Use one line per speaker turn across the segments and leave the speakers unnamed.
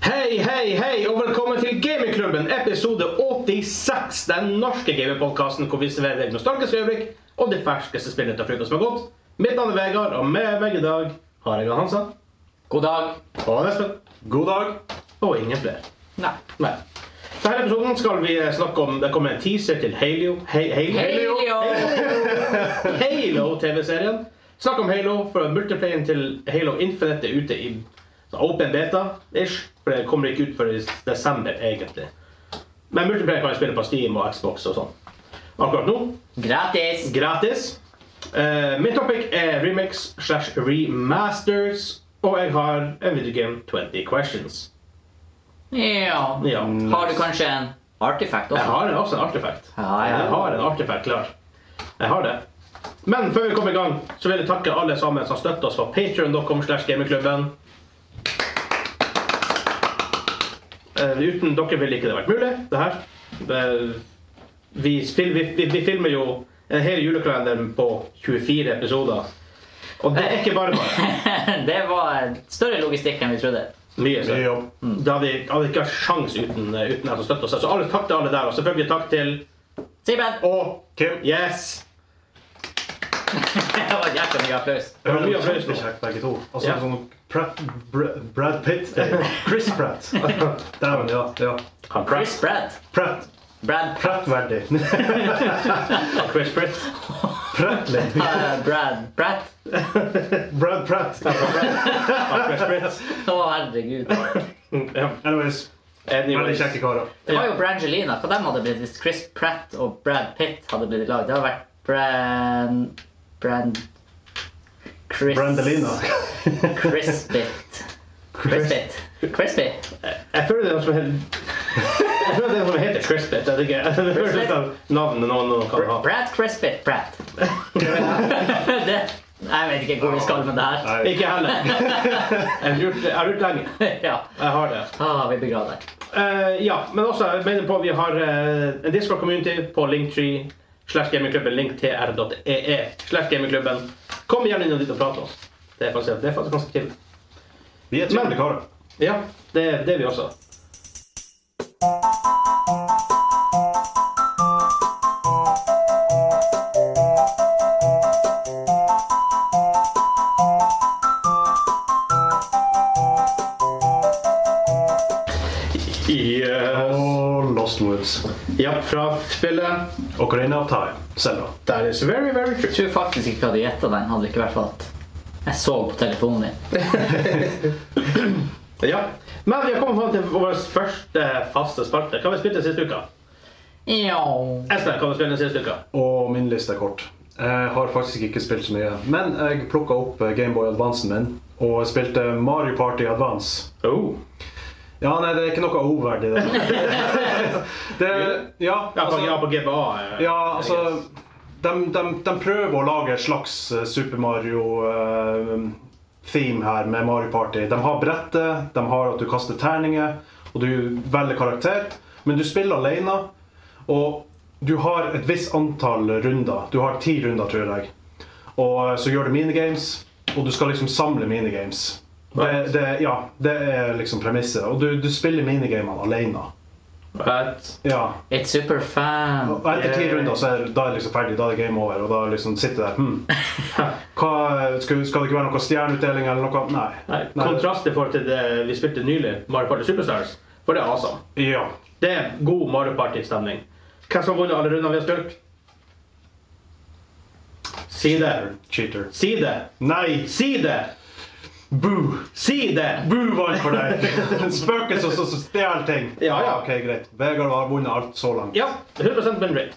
Hei, hei, hei, og velkommen til Gamingklubben, episode 86. Den norske gamingpodkasten hvor vi serverer deg nostalgiske øyeblikk og de ferskeste spillene til frokost som er godt. Mitt navn er Vegard, og med meg i dag har jeg Jan Hansa
God dag.
og Espen. God dag. Og ingen flere.
Nei.
Nei. Denne episoden skal vi snakke om Det kommer en teaser til Halo. Hei, Halo.
Halo.
Halo-TV-serien. Snakk om Halo, for multiplayeren til Halo Infinite er ute i sånn open beta-ish. For det kommer ikke ut før i desember, egentlig. Men multiplayer kan jeg spille på Steam og Xbox og sånn. Akkurat nå
Gratis.
gratis. Eh, min topic er remix slash remasters, og jeg har en videogame 20 questions.
Ja.
Ja.
Har du kanskje en artifact
Jeg
også?
har også en artefakt.
Ja, ja.
Jeg har en artefakt klar. Jeg har det. Men før vi kommer i gang, så vil jeg takke alle sammen som støtter oss på patreon.com slash gamingklubben. Eh, uten dere ville ikke det vært mulig, det her. Eh, vi, fil, vi, vi, vi filmer jo en hel julekalender på 24 episoder. Og det er ikke bare bare.
det var større logistikk enn vi trodde.
Mye. Så.
Mye jobb.
Mm.
Da hadde vi hadde ikke hatt sjans uten, eh, uten dere som støtter oss. Så alle, takk til alle der, og selvfølgelig takk til
Simen!
Og
Kim,
yes!
Det var jækla mye applaus.
Det var mye applaus nå.
kjempekjekt begge to. Og så
Ja.
er det sånn Pratt, Br Brad Pitt Nei, Chris Pratt. Dæven, ja. ja.
Han Chris,
Chris Brad.
Pratt.
Brad.
Pratt-verdig.
Chris Pratt.
Prattlig.
Eh, Brad. Brad.
Brad Pratt.
Han Chris Pratt.
Å, herregud.
Ja.
Anyways, veldig
Anyways.
kjekke karer.
Det var jo Brangelina. Hva dem hadde blitt hvis Chris Pratt og Brad Pitt hadde blitt i lag? Det hadde vært Bran... Bran... Chris...
Brandelina.
Crispit. Crispit. Crispy.
Jeg føler det er noe som heter Jeg føler det er noe som heter Chris Pratt. Jeg vet ikke. Det høres ut som navnet noen noen kan ha.
Brad Crispit Pratt. det, jeg vet ikke hvor vi skal med det her.
Nei.
Ikke heller. Jeg har lurt- jeg har lurt lenge.
ja.
Jeg har det.
Ah, vi begraver det.
Eh, ja, men også jeg mener på vi har eh, en Discord-community på linktree slash gamingklubben linktr.ee E, slash gamingklubben. Kom gjerne innom dit og prat med oss. Det er faktisk, det er faktisk ganske trivelig.
Vi er trivelige karer.
Ja, det, det er vi også. Yes.
Og Lost Woods.
eh, Ja, fra spillet
Ocarina of Time. Selda.
That is very, very true.
Jeg tror faktisk ikke jeg hadde gjetta den, hadde det ikke vært for at jeg så på telefonen din.
Ja. Men vi har kommet fram til vår første faste spalte. Hva har vi spilt den siste uka?
Ja.
Espen, hva har vi spilt den siste uka?
Og min liste er kort. Jeg har faktisk ikke spilt så mye. Men jeg plukka opp eh, Gameboy Advancen min og spilte Mario Party Advance.
Oh.
Ja, nei, det er ikke noe oververdig, det. det
Ja,
ja,
på,
altså-
ja, på GBA. eh,
Ja,
I
altså
guess.
de, de, de prøver å lage et slags eh, Super Mario-theme her med Mario Party. De har brettet, de har at du kaster terninger, og du velger karakter. Men du spiller alene, og du har et visst antall runder. Du har ti runder, tror jeg. Og eh, så gjør du minigames, og du skal liksom samle minigames. Det,
Right.
det, ja, det er liksom premisset. Og du, du spiller minigamene alene.
Right.
Ja,
It's superfan.
og etter
Eh.
ti runder så er, da er det liksom ferdig, da er det game over. Og da liksom sitter du der hmm. Hva, skal, skal det ikke være noe stjerneutdeling eller noe? Nei.
Nei, kontrast i forhold til det vi spilte nylig, Mario Party Superstars. For det er awesome.
Ja.
Det er god Mario Party-stemning. Hvem som har vunnet alle rundene vi har spilt? Si det.
Cheater.
Si det.
Nei!
Si det.
Boo!
Si det.
Boo vant for deg! Spøkelser som som stjeler ting.
Ja, ja.
Ok, greit. Vegard har vunnet alt så langt.
Ja, 100 win rate.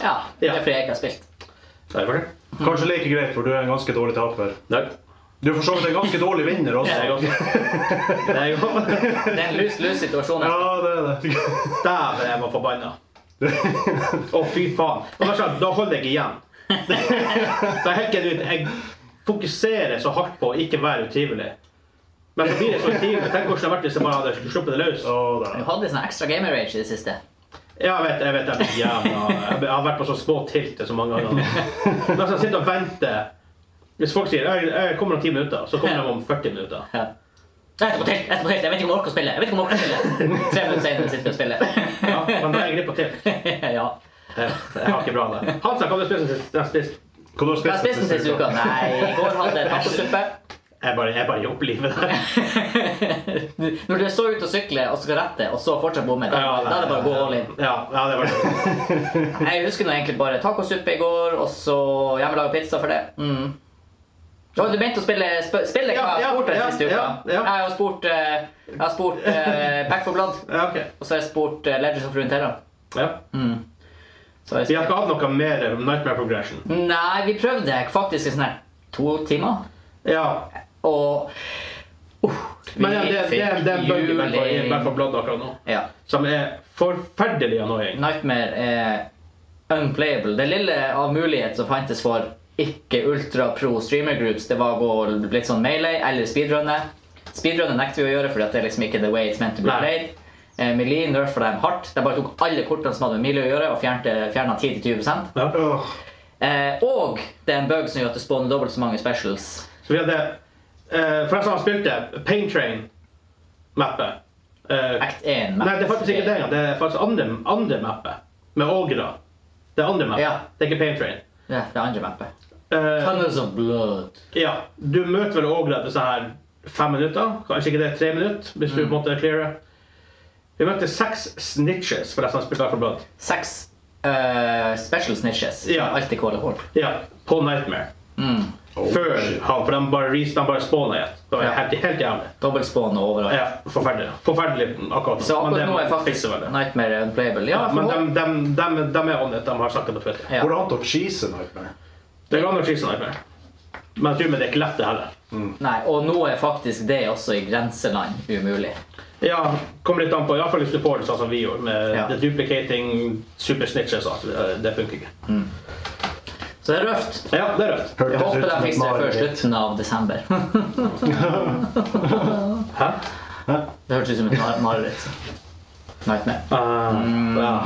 Ja, det er fordi jeg ikke har spilt.
Da er det ferdig.
Kanskje like greit, for du er en ganske dårlig taper.
Nei.
Du er for så vidt en ganske dårlig vinner
Det er
også.
godt. Det er godt.
Det er en lus-lus situasjon.
Ja, det er det.
Dæven, jeg var forbanna. Å, fy faen. Og da, skjønner jeg, da holder jeg ikke igjen. Så jeg, er helt genuint, jeg fokuserer så hardt på å ikke være utrivelig. Men så blir jeg så utrivelig. Tenk hvordan det hadde vært hvis jeg bare hadde sluppet det løs.
Å,
Du
der.
hadde sånn ekstra gamer rage i det siste.
Ja, jeg vet jeg vet, jeg, vet, jævla, jeg har vært på så små tilt så mange ganger. Men så sitter jeg og venter. Hvis folk sier jeg, jeg kommer om 10 minutter, så kommer de om 40 minutter.
Ja. Nei, etterpå til! etterpå til. Jeg vet ikke om jeg orker å spille. Jeg vet ikke om jeg orker å spille. Tre minutter senere sitter vi og
Ja,
spiller.
men da er jeg glipp av til.
ja.
Det jeg har ikke bra det. Hansa, hva har du spist sist? Jeg, har spist-
Hva du har
Hva spiste du
spist
sist uke? Nei, i går hadde jeg tacosuppe.
jeg bare, jeg bare jobber livet der.
Du- Når du er så ute og sykler, og skal rette, og så fortsatt bomme, da,
Ja, nei,
da er det bare å gå all in.
Ja, ja, det var det.
Jeg husker nå egentlig bare tacosuppe i går, og så hjemmelaga pizza for det. Mm. Ja, du begynte å spille sp spillet hva
Ja,
jeg har
ja,
spurt deg
ja,
siste uka.
ja, ja.
Jeg har spurt, eh, jeg har spurt eh, Back for Blood,
Ja, ok.
og så har jeg spurt eh, Legends of Runeterra.
Ja.
Mm. Så har jeg
Vi har ikke hatt noe mer Nightmare Progression.
Nei, vi prøvde faktisk i sånn her to timer.
Ja,
Og uh, vi
men ja, det, det, det er en bug i hvert fall- i hvert fall Blood akkurat nå.
Ja.
Som er forferdelig annoying.
Nightmare er unplayable. Det lille av mulighet som fantes for ikke ultra pro streamer groups, det var å gå litt sånn melee eller speedrunne. Speedrunne nekter vi å gjøre, for det er liksom ikke the way it's meant to be
Nei.
played. Eh, Melee nerfa dem hardt. De bare tok alle kortene som hadde med Melee å gjøre, og fjernte- fjerna 10-20
Ja.
Åh,
eh, Og det er en bug som gjør at det spawner dobbelt så mange specials.
Så vi hadde eh, For jeg som har spilt det, Pain Train-mappet. Eh,
Act 1.
nei, det er faktisk ikke det engang. Det er faktisk andre, andre mappet. Med Olgra. Det er andre mappet.
Ja.
Det er ikke Pain Train.
Ja, det er andre mappet.
Eh,
Tunnels of blood.
ja, du møter vel Olgra etter sånn her fem minutter. Kanskje ikke det er tre minutter, hvis du på en måte clearer. Vi møtte seks snitches, for jeg som har spilt Back for Blood.
Seks eh, special snitches. som
Ja.
Alltid kåler folk.
Ja, på Nightmare.
Mm.
oh,
Før
shit.
han, for de bare, ris- de bare spawna igjen. Det var
Ja.
helt, helt jævlig.
Dobbeltspawn og overalt.
Ja, forferdelig. Forferdelig akkurat nå.
Så
Men
akkurat
det
nå er faktisk
fikser vel det.
Nightmare unplayable. Ja,
Men
for
de, er on it. De har snakket på Twitter.
Ja.
Går det an å cheese Nightmare?
Det går an å cheese Nightmare. Men jeg tror med det er ikke lett, det heller.
Nei, og nå er faktisk det også i grenseland umulig.
Ja, kommer litt an på. Iallfall hvis du får det sånn som vi gjorde, med
Ja.
the duplicating, super snitches og alt. det- Det funker ikke.
Så det er røft.
Ja, det er rødt.
Jeg
Hørtes
håper
ut
de
som et
fikser det før
mareritt.
slutten av desember.
Hæ?
Det hørtes ut som et mar- mareritt. Nightmare.
Ah,
Mm.
ja.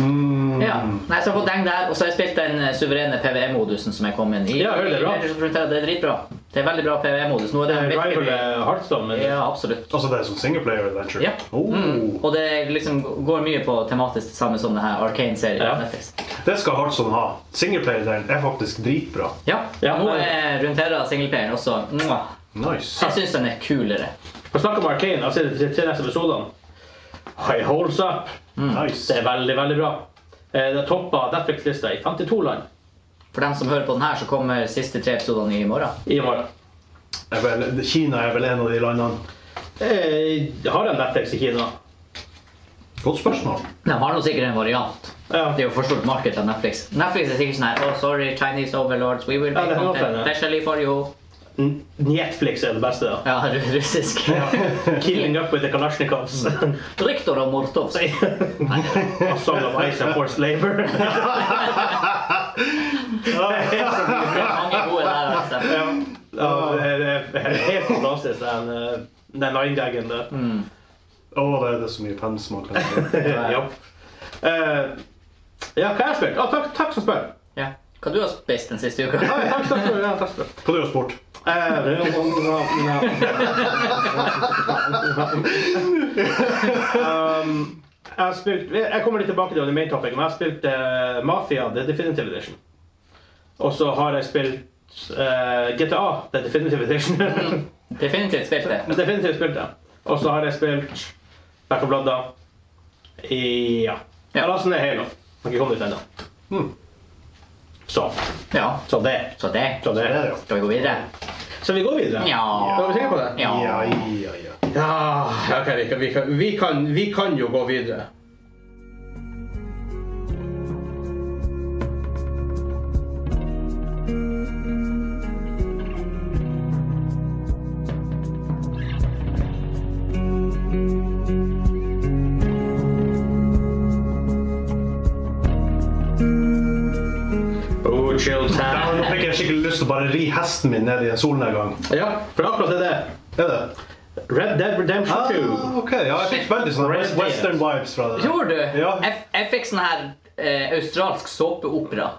Mm.
Ja. Nei, så jeg har fått deng der, og så har jeg spilt den eh, suverene PVE-modusen som jeg kom inn i.
Ja, veldig bra.
Det er dritbra. Det er veldig bra PVE-modus. Nå er det
Rival
virkelig...
er Hearthstone, men
Ja, absolutt.
Altså det er sånn singleplayer adventure?
Ja.
Oh,
Mm. Og det liksom går mye på tematisk det samme som det her Arcane-serien.
Ja.
på Netflix.
Det skal Hardson ha. Singleplayer-delen er faktisk dritbra.
Ja.
Ja,
Nå
men-
er Runeterra singleplayeren også mwah.
Nice.
Jeg syns den er kulere.
For å snakke om Arcane, altså de tre neste episodene High holds up.
Mm.
Det
nice.
er veldig, veldig bra. Eh, Det toppa Netflix-lista i 52 land
For dem som hører på den her, så kommer siste tre episodene i morgen.
i morgen.
Er vel, Kina er vel en av de landene.
Eh, Har de Netflix i Kina?
Godt spørsmål.
De har nå sikkert en variant.
Ja.
Det er jo for stort marked av Netflix. Netflix er sikkert sånn her Oh, sorry, Chinese overlords, we will
Ja,
make
det kan godt
content
hende.
specially for you.
N- Netflix er det beste, da.
Ja, ru- russisk.
Killing up with the Kalashnikovs.
Ryktor og Mortov. sier-
A song of ice and forced labor.
Det er mange gode der, altså.
ja. Ja, det er- det er helt fantastisk, den, eh, den line-gaggen der.
Å, det er det så mye pensmak. Jeg
Mm. ja. Eh, ja, hva har jeg spilt? Å, takk, takk som spør.
Ja. Hva du har spist den siste uka?
Å, ja, takk, takk, takk, ja, takk, som spør.
Hva du har spurt?
Eh, det er jo sånn, ja, ja. um, jeg har spilt Jeg kommer litt tilbake til det under main topic, men jeg har spilt eh, Mafia The Definitive Edition. Og så har jeg spilt eh, GTA The Definitive Edition.
Definitivt spilt det.
Definitivt spilt det. Og så har jeg spilt Back of Blood, da. I Ja. Jeg har lastet ned Halo. Har ikke kommet ut ennå.
Hmm.
Så.
Ja.
Så det.
Så det.
Så det.
Det er det, jo.
Skal vi gå videre?
Så vi går videre. Er
Ja.
du sikker på det?
ja.
Ja, ja, ja.
Ja, ok, Ah, vi, kan, vi, kan, vi, kan, vi kan jo gå videre. Oh, chill
Ja,
time.
Nå fikk jeg skikkelig lyst til å bare ri hesten min ned i en solnedgang.
Ja, for akkurat det der.
Er det?
Red Dead Redemption 2.
Ah, ok, ja, jeg fikk veldig sånn
Rest
western vibes fra det.
Gjorde du?
Ja.
Jeg, jeg fikk sånn her eh, australsk såpeopera.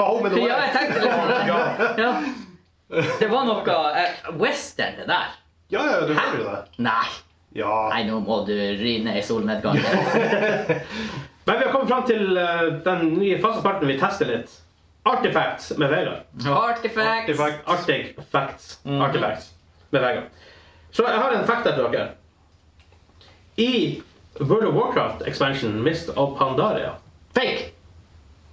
Home and
Ja, sånn.
away.
jeg tenkte litt på det. Ja. Det var noe eh, western, det der.
Ja, ja, du hører jo det.
Nei.
Ja.
Nei, nå må du rine i solnedgangen.
Men vi har kommet fram til eh, den nye faste spalten vi tester litt. Artifacts med Vegard.
Artifacts.
Artifact.
Arctic facts. Artifacts med Vegard. Så jeg har en fact til dere. I World of Warcraft-expansion Mist of Pandaria
Fake.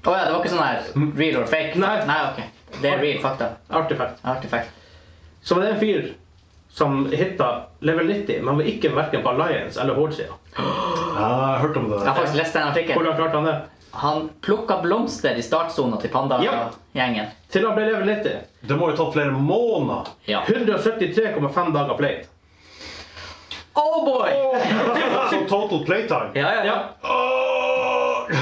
Å ja, det var ikke sånn her real or fake?
Nei.
ok. Det er real fakta.
Artifact.
Artifact.
Så det er en fyr som hitta level 90, men var ikke verken på Alliance eller Horde-sida.
ja jeg har hørt om det.
Jeg har faktisk lest den artikkelen.
Hvordan klarte han det?
Han plukka blomster i startsona til Panda-gjengen.
Til han ble level 90.
Det må jo ta flere måneder.
Ja.
173,5 dager played.
Oh boy!
Som total playtime.
Ja, ja, ja.
Åh!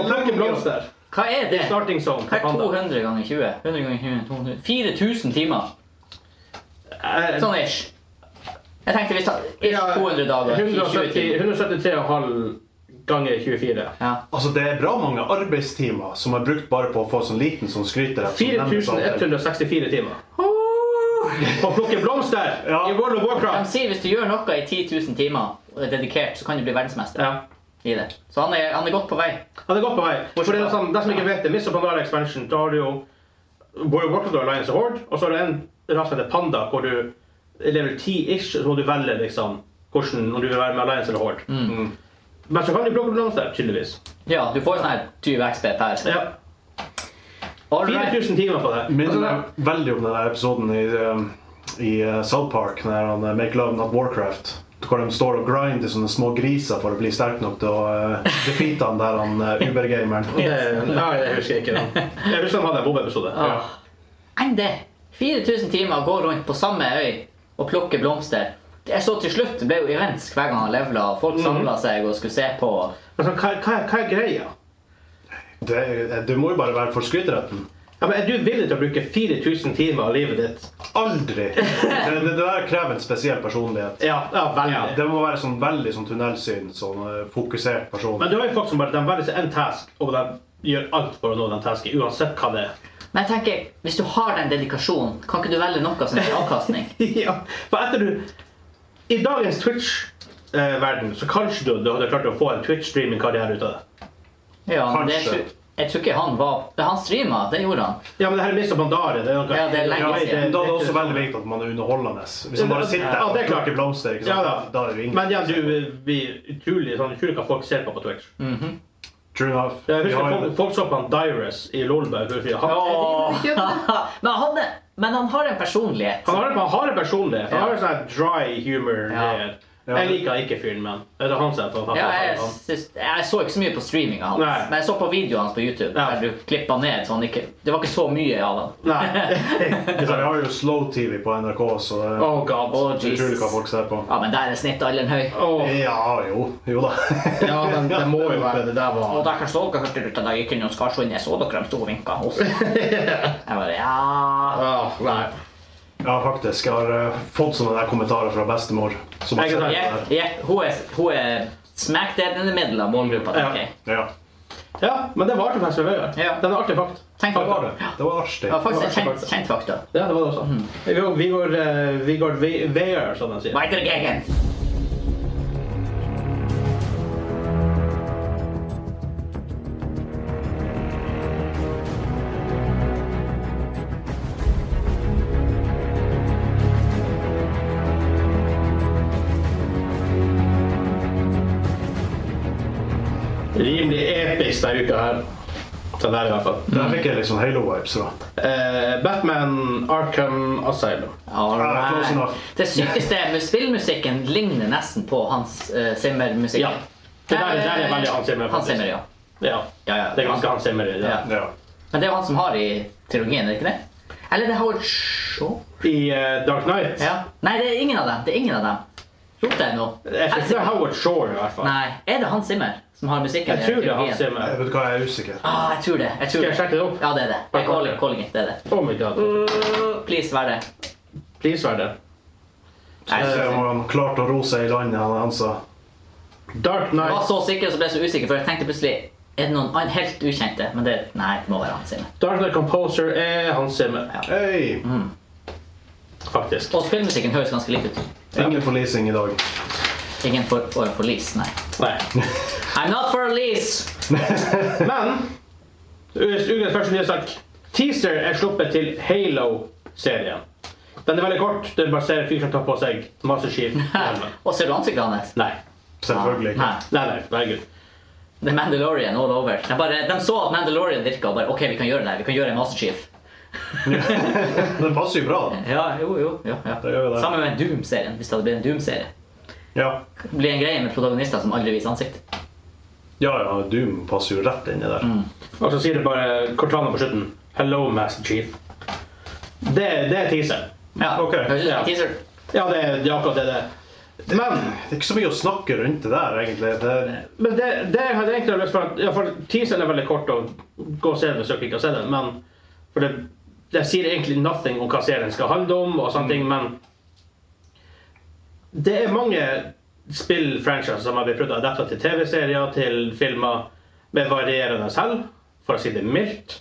Og plukke blomster.
Hva er det?
Starting zone.
Hva er
Panda.
200 ganger 20? 100 ganger 20, 200 4000 timer.
Eh,
Sånn ish. Jeg tenkte vi tar ish
ja,
200 dager. 20
170
timer.
173,5 ganger 24.
Ja.
Altså, det er bra mange arbeidstimer som er brukt bare på å få sånn liten som skryter.
4164 timer. Å plukke blomster
Ja.
i World of
De
Warcraft!
sier hvis du gjør noe i 10 000 timer og er dedikert, så kan du bli verdensmester
Ja.
i det. Så han er, han er godt på vei.
Han er godt på vei. For det er sånn, de som ikke vet det, Miss og Pandora Expansion, da har du jo World of Warcraft og Alliance og Horde, og så har du en ras som heter Panda, hvor du i level 10-ish, så må du velge liksom hvordan, om du vil være med Alliance eller Horde. Men så kan du plukke blomster, tydeligvis.
Ja, du får sånn her 20 XP per.
Ja.
All right.
4000 timer på det.
Minner
Altså,
meg veldig om den der episoden i, um, i uh, South Park, der han uh, Make Love Not Warcraft. Hvor de står og grinder sånne små griser for å bli sterk nok til å uh, defeate han der han uh, Uber-gameren.
det, Eh, nei, det husker jeg ikke. Da. Jeg husker de hadde en bobepisode. Ja.
Ah. Enn det! 4000 timer går rundt på samme øy og plukker blomster. Det er så til slutt det ble jo events hver gang han levela, og
Mm.
folk samla seg og skulle se på.
Altså, hva, hva, hva er greia?
Det, det uh, må jo bare være for skryteretten.
Ja, men er du villig til å bruke 4000 timer av livet ditt?
Aldri! Det, det, det der krever en spesiell personlighet.
Ja, ja veldig.
Det må være sånn veldig sånn tunnelsyn, sånn uh, fokusert person.
Men du har jo folk som bare de velger seg en task, og de gjør alt for å nå den tasken, uansett hva det er.
Men jeg tenker, hvis du har den dedikasjonen, kan ikke du velge noe som gir avkastning?
ja, for etter du... I dagens Twitch-verden, så kanskje du, du hadde klart å få en Twitch-streaming-karriere ut av det.
Ja, men det,
Kanskje.
jeg tror ikke han var Det Han streama, det gjorde han.
Ja, men det her er Mr. Bandare. Det er noe...
Ja, det er lenge
det- sånn-
siden.
Men da er det også veldig viktig at man er underholdende. Hvis man bare sitter
Ja,
og
det er klart.
plukker blomster, ikke
Ja,
sant?
da.
da er det jo ingen
Men ja, du blir utrolig sånn, utrolig hva folk ser på på Twitch.
True enough.
Jeg
Vi
husker
har jo-
folk, folk så på han Dyrus i Lolberg. Han, han,
men, han er, men han har en personlighet.
har, han har en personlighet. Han
Ja.
har en sånn her dry humor.
Ja.
Ja.
Jeg liker ikke fyren, men det er han som er på
Ja, jeg, syns- jeg så ikke så mye på streaminga hans,
Nei.
men jeg så på videoene hans på YouTube.
Ja.
Der du klippa ned, så han ikke Det var ikke så mye av han.
Nei.
Vi har jo slow-TV på NRK, så det er
Oh god.
Å,
utrolig hva
Jesus.
folk ser på.
Ja, men der er snittalderen høy.
Åh.
Ja, jo. Jo da.
Ja, men det må jo være det der
Og
var.
der kan så dere hørte ut da jeg gikk innom Skarsund. Jeg så dere de sto og vinka hos Jeg bare, ja.
Åh, nei.
Ja, faktisk. Jeg har eh, fått sånne der kommentarer fra bestemor. Som har
Jeg
sett
kan
det
Jeg,
der.
jeg, hun, er, hun er smack dead in the middle av målgruppa. tenker jeg.
Ja.
Ja, men det var artifakt fra Vegard.
Ja.
Det er en artifakt.
Tenk
Det
på
var det. Det var artig.
Det var faktisk et kjent, kjent fakta.
Ja, det var det også.
Mhm.
Vi går, vi går, eh, vi går ve- veier, som de sier.
Michael Gagan.
Rimelig episk denne uka her. Den der i hvert fall.
Der fikk jeg litt sånn halo-vibes fra.
Eh, Batman Arkham Asylum.
All
Ja, close
right.
enough.
Det sykeste er mus- spillmusikken ligner nesten på Hans eh, Zimmer-musikk.
Ja. Det der, det der er veldig Hans Zimmer.
Hans
faktisk.
Zimmer, ja.
Ja.
Ja, ja.
Det er ganske Hans Zimmer. i det.
Ja.
Ja.
Men det er jo han som har i trilogien, er det ikke det? Eller det er Howard Shaw?
I eh, Dark Knight
Ja. Nei, det er ingen av dem. Det er ingen av dem. Rop deg nå.
Jeg tror ikke det er Howard Shore, i hvert fall.
Nei, er det Hans Zimmer som har musikken
Jeg tror det er Hans
trilogien?
Zimmer.
Jeg vet hva, jeg er usikker.
Ah, jeg tror det. Jeg tror
Skal jeg sjekke det opp?
Ja, det er det. Jeg calling, calling it, det er det.
Oh my god.
Please, vær det.
Please, vær det.
Nei,
Jeg ser
det
om han klarte å ro seg i land, han, han sa.
Dark
var
Knight,
så sikker, så ble jeg så usikker, for jeg tenkte plutselig er det noen an- helt ukjente? Men det, nei, det må være Hans Zimmer.
Mm.
Dark Knight Composer er Hans Zimmer.
Ja.
Hei!
faktisk.
Og spillmusikken høres ganske lik ut.
Ingen forlising i dag.
Ingen for, for, for lease, nei.
Nei.
I'm not for lease!
Men ukens første nye sak. Teaser er sluppet til Halo-serien. Den er veldig kort. Den baserer fyr som tar på seg Master Chief. Nei.
Og ser du ansiktet hans?
Nei,
Selvfølgelig ikke.
Nei.
nei, herregud.
The Mandalorian all over. De, bare, de så at Mandalorian virka og bare OK, vi kan gjøre det her. Vi kan gjøre en Master Chief.
Den passer jo bra, da.
Ja, jo, jo. Ja, ja.
Da gjør vi det.
Sammen med Doom-serien, hvis det hadde blitt en Doom-serie.
Ja.
Det blir en greie med protagonister som aldri viser ansikt.
ja, ja, Doom passer jo rett inni der.
Og så sier det bare Cortana på slutten. Hello, Master Chief. Det, det er teaser.
Ja,
Ok,
Høres ut som
ja.
en teaser.
Ja, det er det er akkurat det det er. Men
Det er ikke så mye å snakke rundt det der, egentlig. Det,
Men det, det jeg hadde egentlig lyst til ja, for Teaseren er veldig kort, og gå og se den hvis dere ikke har sett den. Men, for det, det sier egentlig nothing om hva serien skal handle om, og sånne ting, men det er mange spill-franchises som har blitt prøvd å adapte til TV-serier, til filmer med varierende hell, for å si det mildt.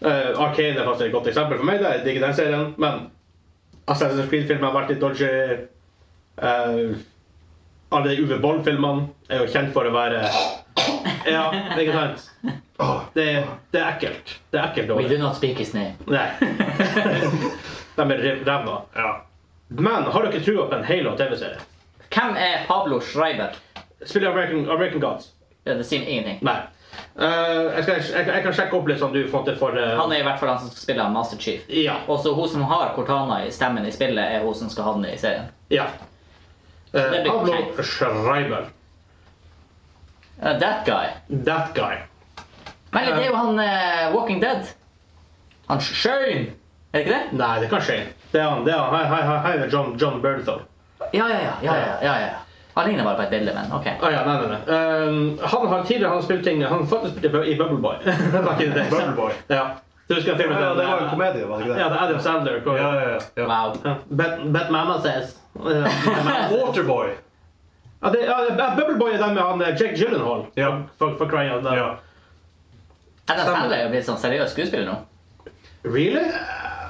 Uh, Arcane er faktisk et godt eksempel for meg. der, Jeg digger den serien. Men Assassin's Creed-filmer har vært litt dodgy. Eh, alle de Uwe Boll-filmene er jo kjent for å være Ja, ikke sant? Det, det er ekkelt. Det er ekkelt
We
dårlig.
do not speak his name.
Nei. De er rev- ræva.
ja.
Men har dere trua på en Halo TV-serie?
Hvem er Pablo Schreiber?
Spiller American, American Gods?
Ja, det sier ingenting.
Nei. Eh, jeg, skal, jeg, jeg kan sjekke opp litt sånn du fant det for eh,
Han er i hvert fall han som skal spille han Master Chief.
Ja.
Også hun som har Cortana i stemmen i spillet, er hun som skal havne i serien.
ja. Eh,
det blir
Pablo
kjekt.
Schreiber.
Uh, that guy.
That guy.
Men det er jo han eh, Walking Dead. Han Sh- Shane! Er det ikke det?
Nei, det kan skje. Det er han. det er han. Hei, hei, hei, hei, det er John, John Bernthal.
Ja, ja, ja. ja, ja, ja, ja. Han ligner bare på et bilde, men OK.
Ah, ja, nei, nei, nei. Ehm, han har tidligere han spilt ting Han faktisk spilte i Bu- i Bubble Boy. Back in the days.
Bubble Boy.
Ja. Du husker filmen?
ja, det var jo en
eh,
komedie, var det ikke
Ja,
det?
det er Adam Sandler. hvor-
Ja, ja, ja.
Wow.
Ja. Bet, Bet Mama Says. Ja,
ja. Waterboy.
Ja, det, ja, det- Bubble Boy er den med han eh, Jake Gyllenhaal.
Ja.
For, for crying out loud.
ja.
Adam Sandler er jo blitt sånn seriøs skuespiller nå.
Really?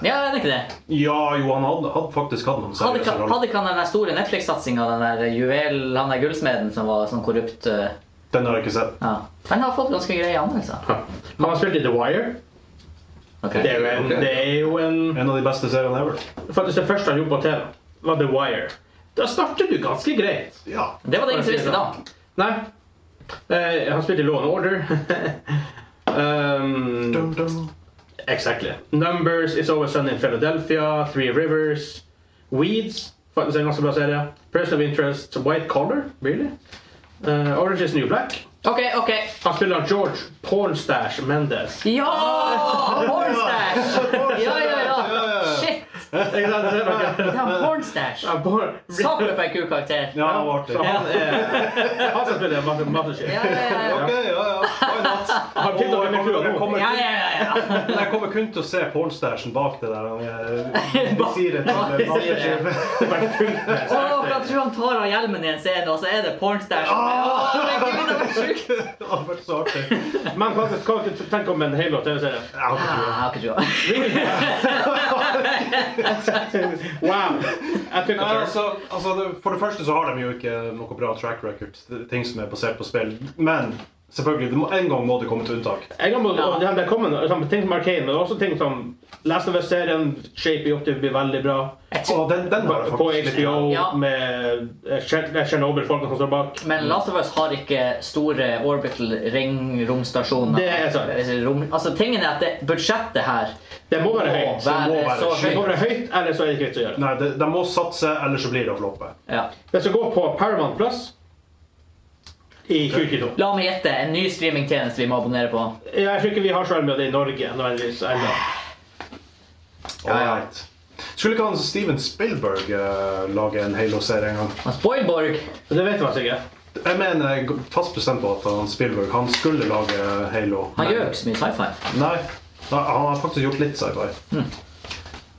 Ja, er det ikke det?
Ja, jo, han hadde, hadde faktisk hatt noen
Hadde
seriøse
ikke
roller.
hadde ikke han den der store Netflix-satsinga, den der juvel, han der gullsmeden som var sånn korrupt eh,
Den har jeg ikke sett.
Ja. Den har fått ganske greie altså. anmeldelser.
Han har spilt i The Wire.
Okay.
Det er jo en,
Ok.
det er jo en
En av de beste seriene ever.
Faktisk det første han gjorde på TV, var The Wire. Da startet du ganske greit.
Ja.
Det var det ingen som visste da.
Nei. Eh, han spilte i Law and Order. um,
Dum, dum.
exactly. Numbers, It's Always Sunny in Philadelphia, Three Rivers, Weeds Faktisk en ganske bra serie. Person of Interest, White Collar, really? Eh, Orange is the New Black.
OK, OK.
Han spiller George Pornstash Mendes.
Ja! Pornstash! Ja, ja, ja. Shit!
Ikke sant? Det er
Det
bare-
er en Pornstash.
Ja, porn-
Sakler på en kuk-karakter.
Ja, han var artig.
Så han er Han som spiller Master- Master Chief.
Ja, ja, ja, ja.
Ok, ja, ja. Why not?
Han
Og jeg
til og med med
kommer,
flua
jeg
nå.
kommer
Ja, ja, ja, ja.
Men jeg kommer kun til å se pornstashen bak det der. eh, Visiret til
Bak-
Masterchef.
Å, jeg tror han tar av hjelmen i en scene, og så er det pornstash.
Ah!
Herregud, det var sjukt.
Det hadde vært så artig.
Men hva hva tenker du om en Halo TV-serie?
Jeg har ikke trua.
Ah, jeg har ikke trua.
Wow! Jeg tok
Nei,
det
altså, altså, det- for det første så har de jo ikke noe bra track record, det- ting som er basert på spill. Men selvfølgelig, det må, en gang må det komme til unntak.
Jeg kan bare, og det- det kommer noe- sånn, ting som Arcane, men også ting som Last of Us-serien shaper opp til å bli veldig bra.
Og den, den har jeg
På på
faktisk litt
HBO
Ja.
med eh, Tjer- eh, Chernobyl-folkene som står bak.
Men Last of Us har ikke store orbital ring-romstasjoner.
Det er sant.
Rom, altså, tingen er at det, budsjettet her
Det må
må
være høyt.
det må
være
være
så
Det må
høyt.
være høyt, eller så er det ikke vits å gjøre det.
Nei, de, de må satse, ellers så blir det å floppe.
Ja.
Det skal gå på Paramount Plus i 2022.
La meg gjette. En ny streamingtjeneste vi må abonnere på.
Jeg tror ikke vi har så veldig mye av det i Norge nødvendigvis ennå.
ja.
Alright. Skulle ikke han Steven Spilberg eh, lage en Halo-serie en gang?
Og Spoilborg!
Men Det vet man sikkert.
Jeg mener jeg er fast bestemt på at han Spielberg han skulle lage Halo.
Han gjør jo ikke så mye sci-fi.
Nei, Nei, han har faktisk gjort litt sci-fi.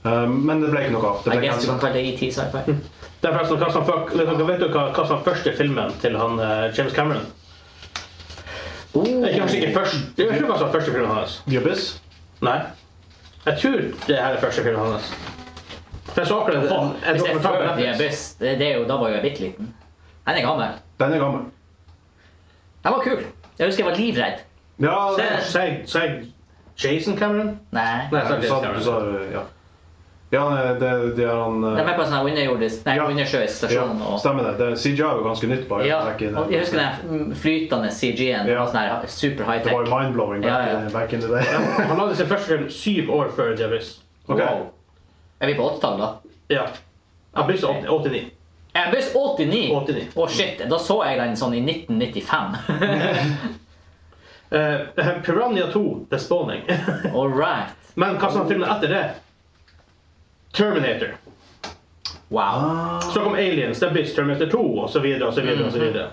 Eh, men det ble ikke Hm. noe av. Det
Mm. I
ble
guess du kan
cancelled.
kalle det ET sci-fi.
Det er forresten hva som, fuck, dere vet jo hva, hva som er første filmen til han eh, James Cameron?
Oh.
Det er kanskje ikke først, det er ikke hva som er første filmen hans.
The Abyss?
Nei. Jeg tror det her er første filmen hans. For jeg så akkurat en, en
Hvis det er
dokumentar på
før de er
Netflix.
bust, det det er jo, da var jo jeg bitte liten. Den er gammel.
Den er gammel.
Den var kul. Jeg husker jeg var livredd.
Ja,
Sa jeg- Sa jeg- sa jeg Jason Cameron?
Nei.
Nei,
Nei.
jeg
du sa,
Jason
du
Cameron.
sa ja. Ja, nei, det, det er han
De er
eh,
med på en sånn her underjordisk, nei,
Ja.
undersjøisk
ja,
stasjon. Og,
Stemmer det. det CGI er jo ganske nytt. bare.
ja,
back in-
og jeg husker den her flytende CG-en.
Ja.
Ja. Sånn her super
Det var
high-tech.
jo mind-blowing back,
Ja, ja.
in- back in the day.
Han lagde sin første film syv år før Javis.
Ok.
Wow. Er vi på 80-tallet, da?
Ja. Han ble så 89.
Jeg er buss 89!
89.
Å, shit. Da så jeg den sånn i 1995.
Eh, Piranha 2, The Spawning.
All right.
Men hva som filmen etter det? Terminator.
Ah.
Wow.
Så kom Aliens, The Bitch, Terminator 2 osv. videre.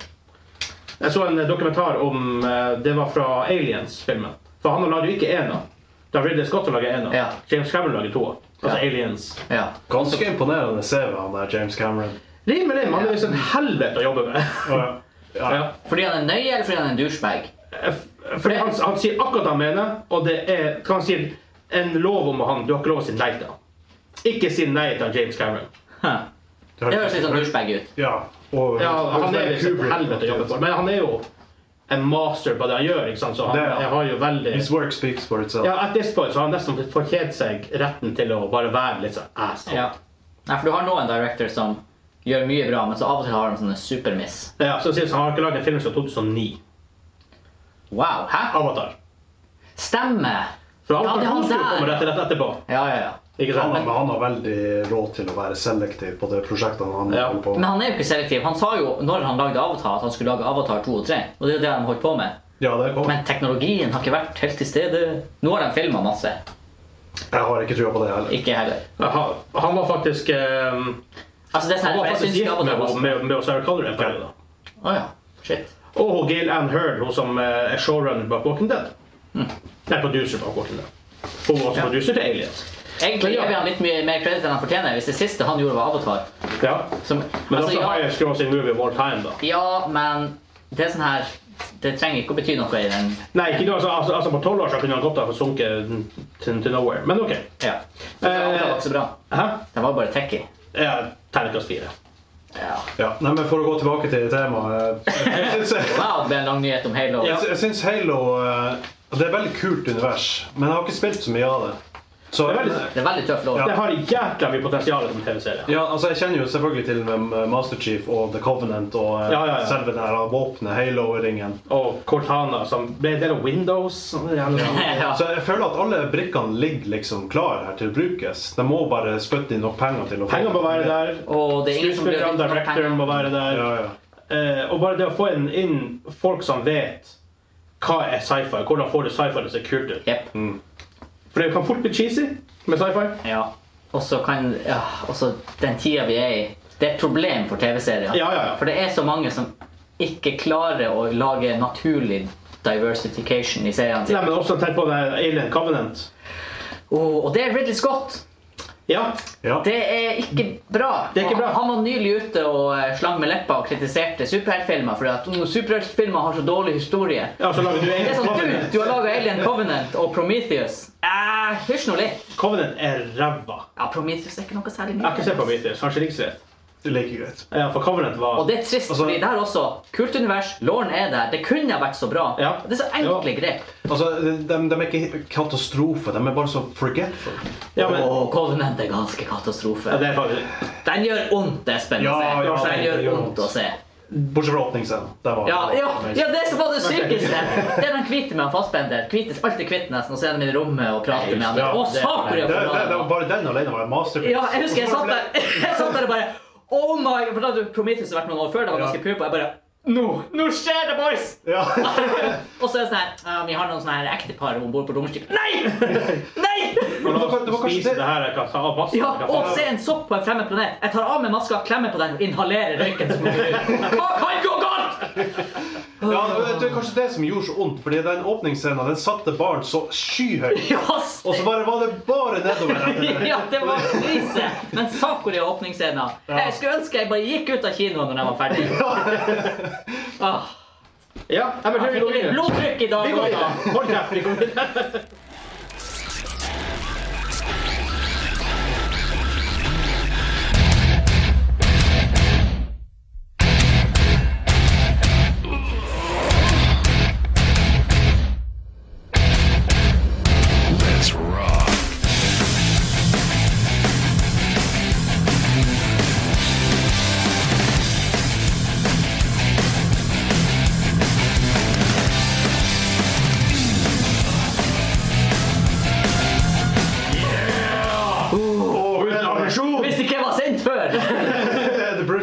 Jeg så en dokumentar om eh, Det var fra Aliens-filmen. For han lagde jo ikke ena. Da Ridley Scott lager ena.
Ja.
James Cameron lager to. Altså
Ja.
Aliens.
Ja.
Ganske imponerende CV, han der James Cameron.
Rim med rim. Han er visst en helvete å jobbe med.
Ja.
ja.
Ja.
Fordi han er nøye, eller fordi han er en douchebag?
Eh, Fordi han, han sier akkurat det han mener, og det er han sier en lov om han du har ikke lov å si nei til. han. Ikke si nei til James Cameron.
Huh. Det høres litt sånn douchebag ut.
Ja. Og,
Ja, han er
Kubrick-
liksom et helvete å jobbe for. Men han er jo en master på det han gjør, ikke sant? så han
Det er han.
jeg har jo veldig
His work speaks for itself.
ja, At this point så har han nesten fortjent seg retten til å bare være litt sånn asshole.
Ja. Nei, for du har noen director som gjør mye bra, men så av og til har de sånne supermiss.
Ja, så sies han har ikke laget en film siden 2009.
Wow, hæ?
Avatar.
Stemmer!
For
Ja,
Avatar
det er han
2 skulle jo komme
der.
rett, rett etterpå.
Ja, ja, ja.
Ikke
Han,
sant?
har- men han har veldig råd til å være selektiv på det prosjektet han
Ja.
holder på
Men
med.
han er jo ikke selektiv. Han sa jo når han lagde Avatar, at han skulle lage Avatar 2 og 3. Og det er jo det de holdt på med.
Ja, det er
Men teknologien har ikke vært helt til stede. Nå har de filma masse.
Jeg har ikke trua på det heller.
Ikke heller.
Aha, han var faktisk eh,
Altså, det er sånn
Han var
her, for jeg
faktisk
syns ikke
gift
Avatar
med,
var så-
med, med Sarah Connor en periode. da.
Å ja. Shit.
Og hun Gail Ann Hurd, hun som eh, er showrunner bak Walking Dead. Nei, producer bak Walking Dead. Hun var også
Hm. Ja.
producer til Aliens. Men
Egentlig
ja.
gir vi han litt mye mer kreditt enn han fortjener, hvis det siste han gjorde, var Avatar.
Ja.
Som,
Men
altså,
også
ja,
highest grossing movie of all time, da.
Ja, men det er sånn her Det trenger ikke å bety noe i den
Nei, ikke noe, altså, altså, altså på tolv år så kunne han godt ha sunket til, til nowhere. Men OK.
Ja.
Eh,
Så Det Altså, var ikke så bra.
Hæ?
Det var bare techie.
Ja, Terningkast fire.
Ja.
Ja. Nei, men For å gå tilbake til temaet Jeg syns-
Wow, det ble en lang nyhet om Halo.
Ja.
jeg syns Halo eh, Det er et veldig kult univers, men jeg har ikke spilt så mye av det. Så
Det er veldig-
Det er veldig tøff lov.
Ja.
Det har jækla mye potensial som TV-serie.
Ja, altså Jeg kjenner jo selvfølgelig til med Master Chief og The Covenant og eh,
Ja, ja, ja.
selve den her våpenet, Halo-ringen.
Og Cortana, som ble en del av Windows. og det hele sånn.
Ja.
Så jeg føler at alle brikkene ligger liksom klar her til å brukes. De må bare spytte inn nok penger til å få
Penger må være der.
Og det er ingen som blir
Skuespillerne,
uten
directoren må være der.
Ja, ja.
Eh, og bare det å få inn, inn folk som vet hva er sci-fi, hvordan får du sci-fi til å se kult ut.
Jep.
For det kan fort bli cheesy med sci-fi.
Ja. Og så kan ja, og så den tida vi er i Det er et problem for TV-serier.
Ja, ja, ja.
For det er så mange som ikke klarer å lage naturlig diversification i seriene
Nei,
sine.
men også tenk på det her Alien Covenant.
Oh, og det er Ridley Scott!
Ja,
Ja.
Det er ikke bra.
Det er ikke bra.
Han var nylig ute og eh, slang med leppa og kritiserte superheltfilmer fordi at mm, superheltfilmer har så dårlig historie.
ja så lager du
Det er
Alien
sånn, du,
Covenant.
du har laga Alien Covenant og Prometheus. Eh, Hysj nå litt.
Covenant er ræva.
Ja, Prometheus er ikke noe særlig
Jeg har ikke sett på Mythos, kanskje like greit.
Det er like greit.
Ja, for Covenant var
Og det er trist,
Altså-
fordi der også Kult univers, Lauren er der. Det kunne ha vært så bra.
Ja.
Det er så enkle grep.
Altså, de, de er ikke katastrofe, de er bare så forgetful.
Ja, men
Åh, Covenant er ganske katastrofe.
ja, det er faktisk
Den gjør vondt, Espen. å
Ja,
se.
ja,
den
det
gjør
gjør
vondt å
vondt.
se.
Bortsett fra åpningsscenen. Der var
Ja, ja, ja, det som var det sykeste! Det er den hvite med han fastbender. Kvites, alt er hvitt nesten, og så er han i rommet og prater med han.
Ja,
Å,
det-
saker!
Det,
jeg
det, det,
forlater.
bare den alene var en masterpiece.
Ja, jeg husker jeg satt der, jeg satt der og bare Oh my God, for da hadde Prometheus vært noen år før, det var
Ja.
ganske pupa. Jeg bare Nå! Nå skjer det, boys!
Ja.
og så er det sånn her «Ja, Vi har noen sånne her ektepar om bord på romskip. Nei! Nei!
Og la
det var- det var
oss
kanskje
spise
det-
det her, jeg kan ta av massen.
Ja,
jeg kan
og
faen-
se en sopp på en fremmed planet. Jeg tar av meg maska, klemmer på den og inhalerer røyken som kommer ut. Hva kan gå galt?!
Ja, det er kanskje det som gjorde så vondt, fordi den åpningsscenen den satte barn så skyhøyt.
Ja, s-
Og så bare var det bare nedover. etter det.
Ja, det var krise! Men sakura i åpningsscenen. Jeg skulle ønske jeg bare gikk ut av kinoen når jeg var ferdig. Ah,
Ja, nei, men vi
jeg
går
fikk litt
videre.
blodtrykk i dag.
Vi går
også.
videre. Hold kjeft, vi går videre.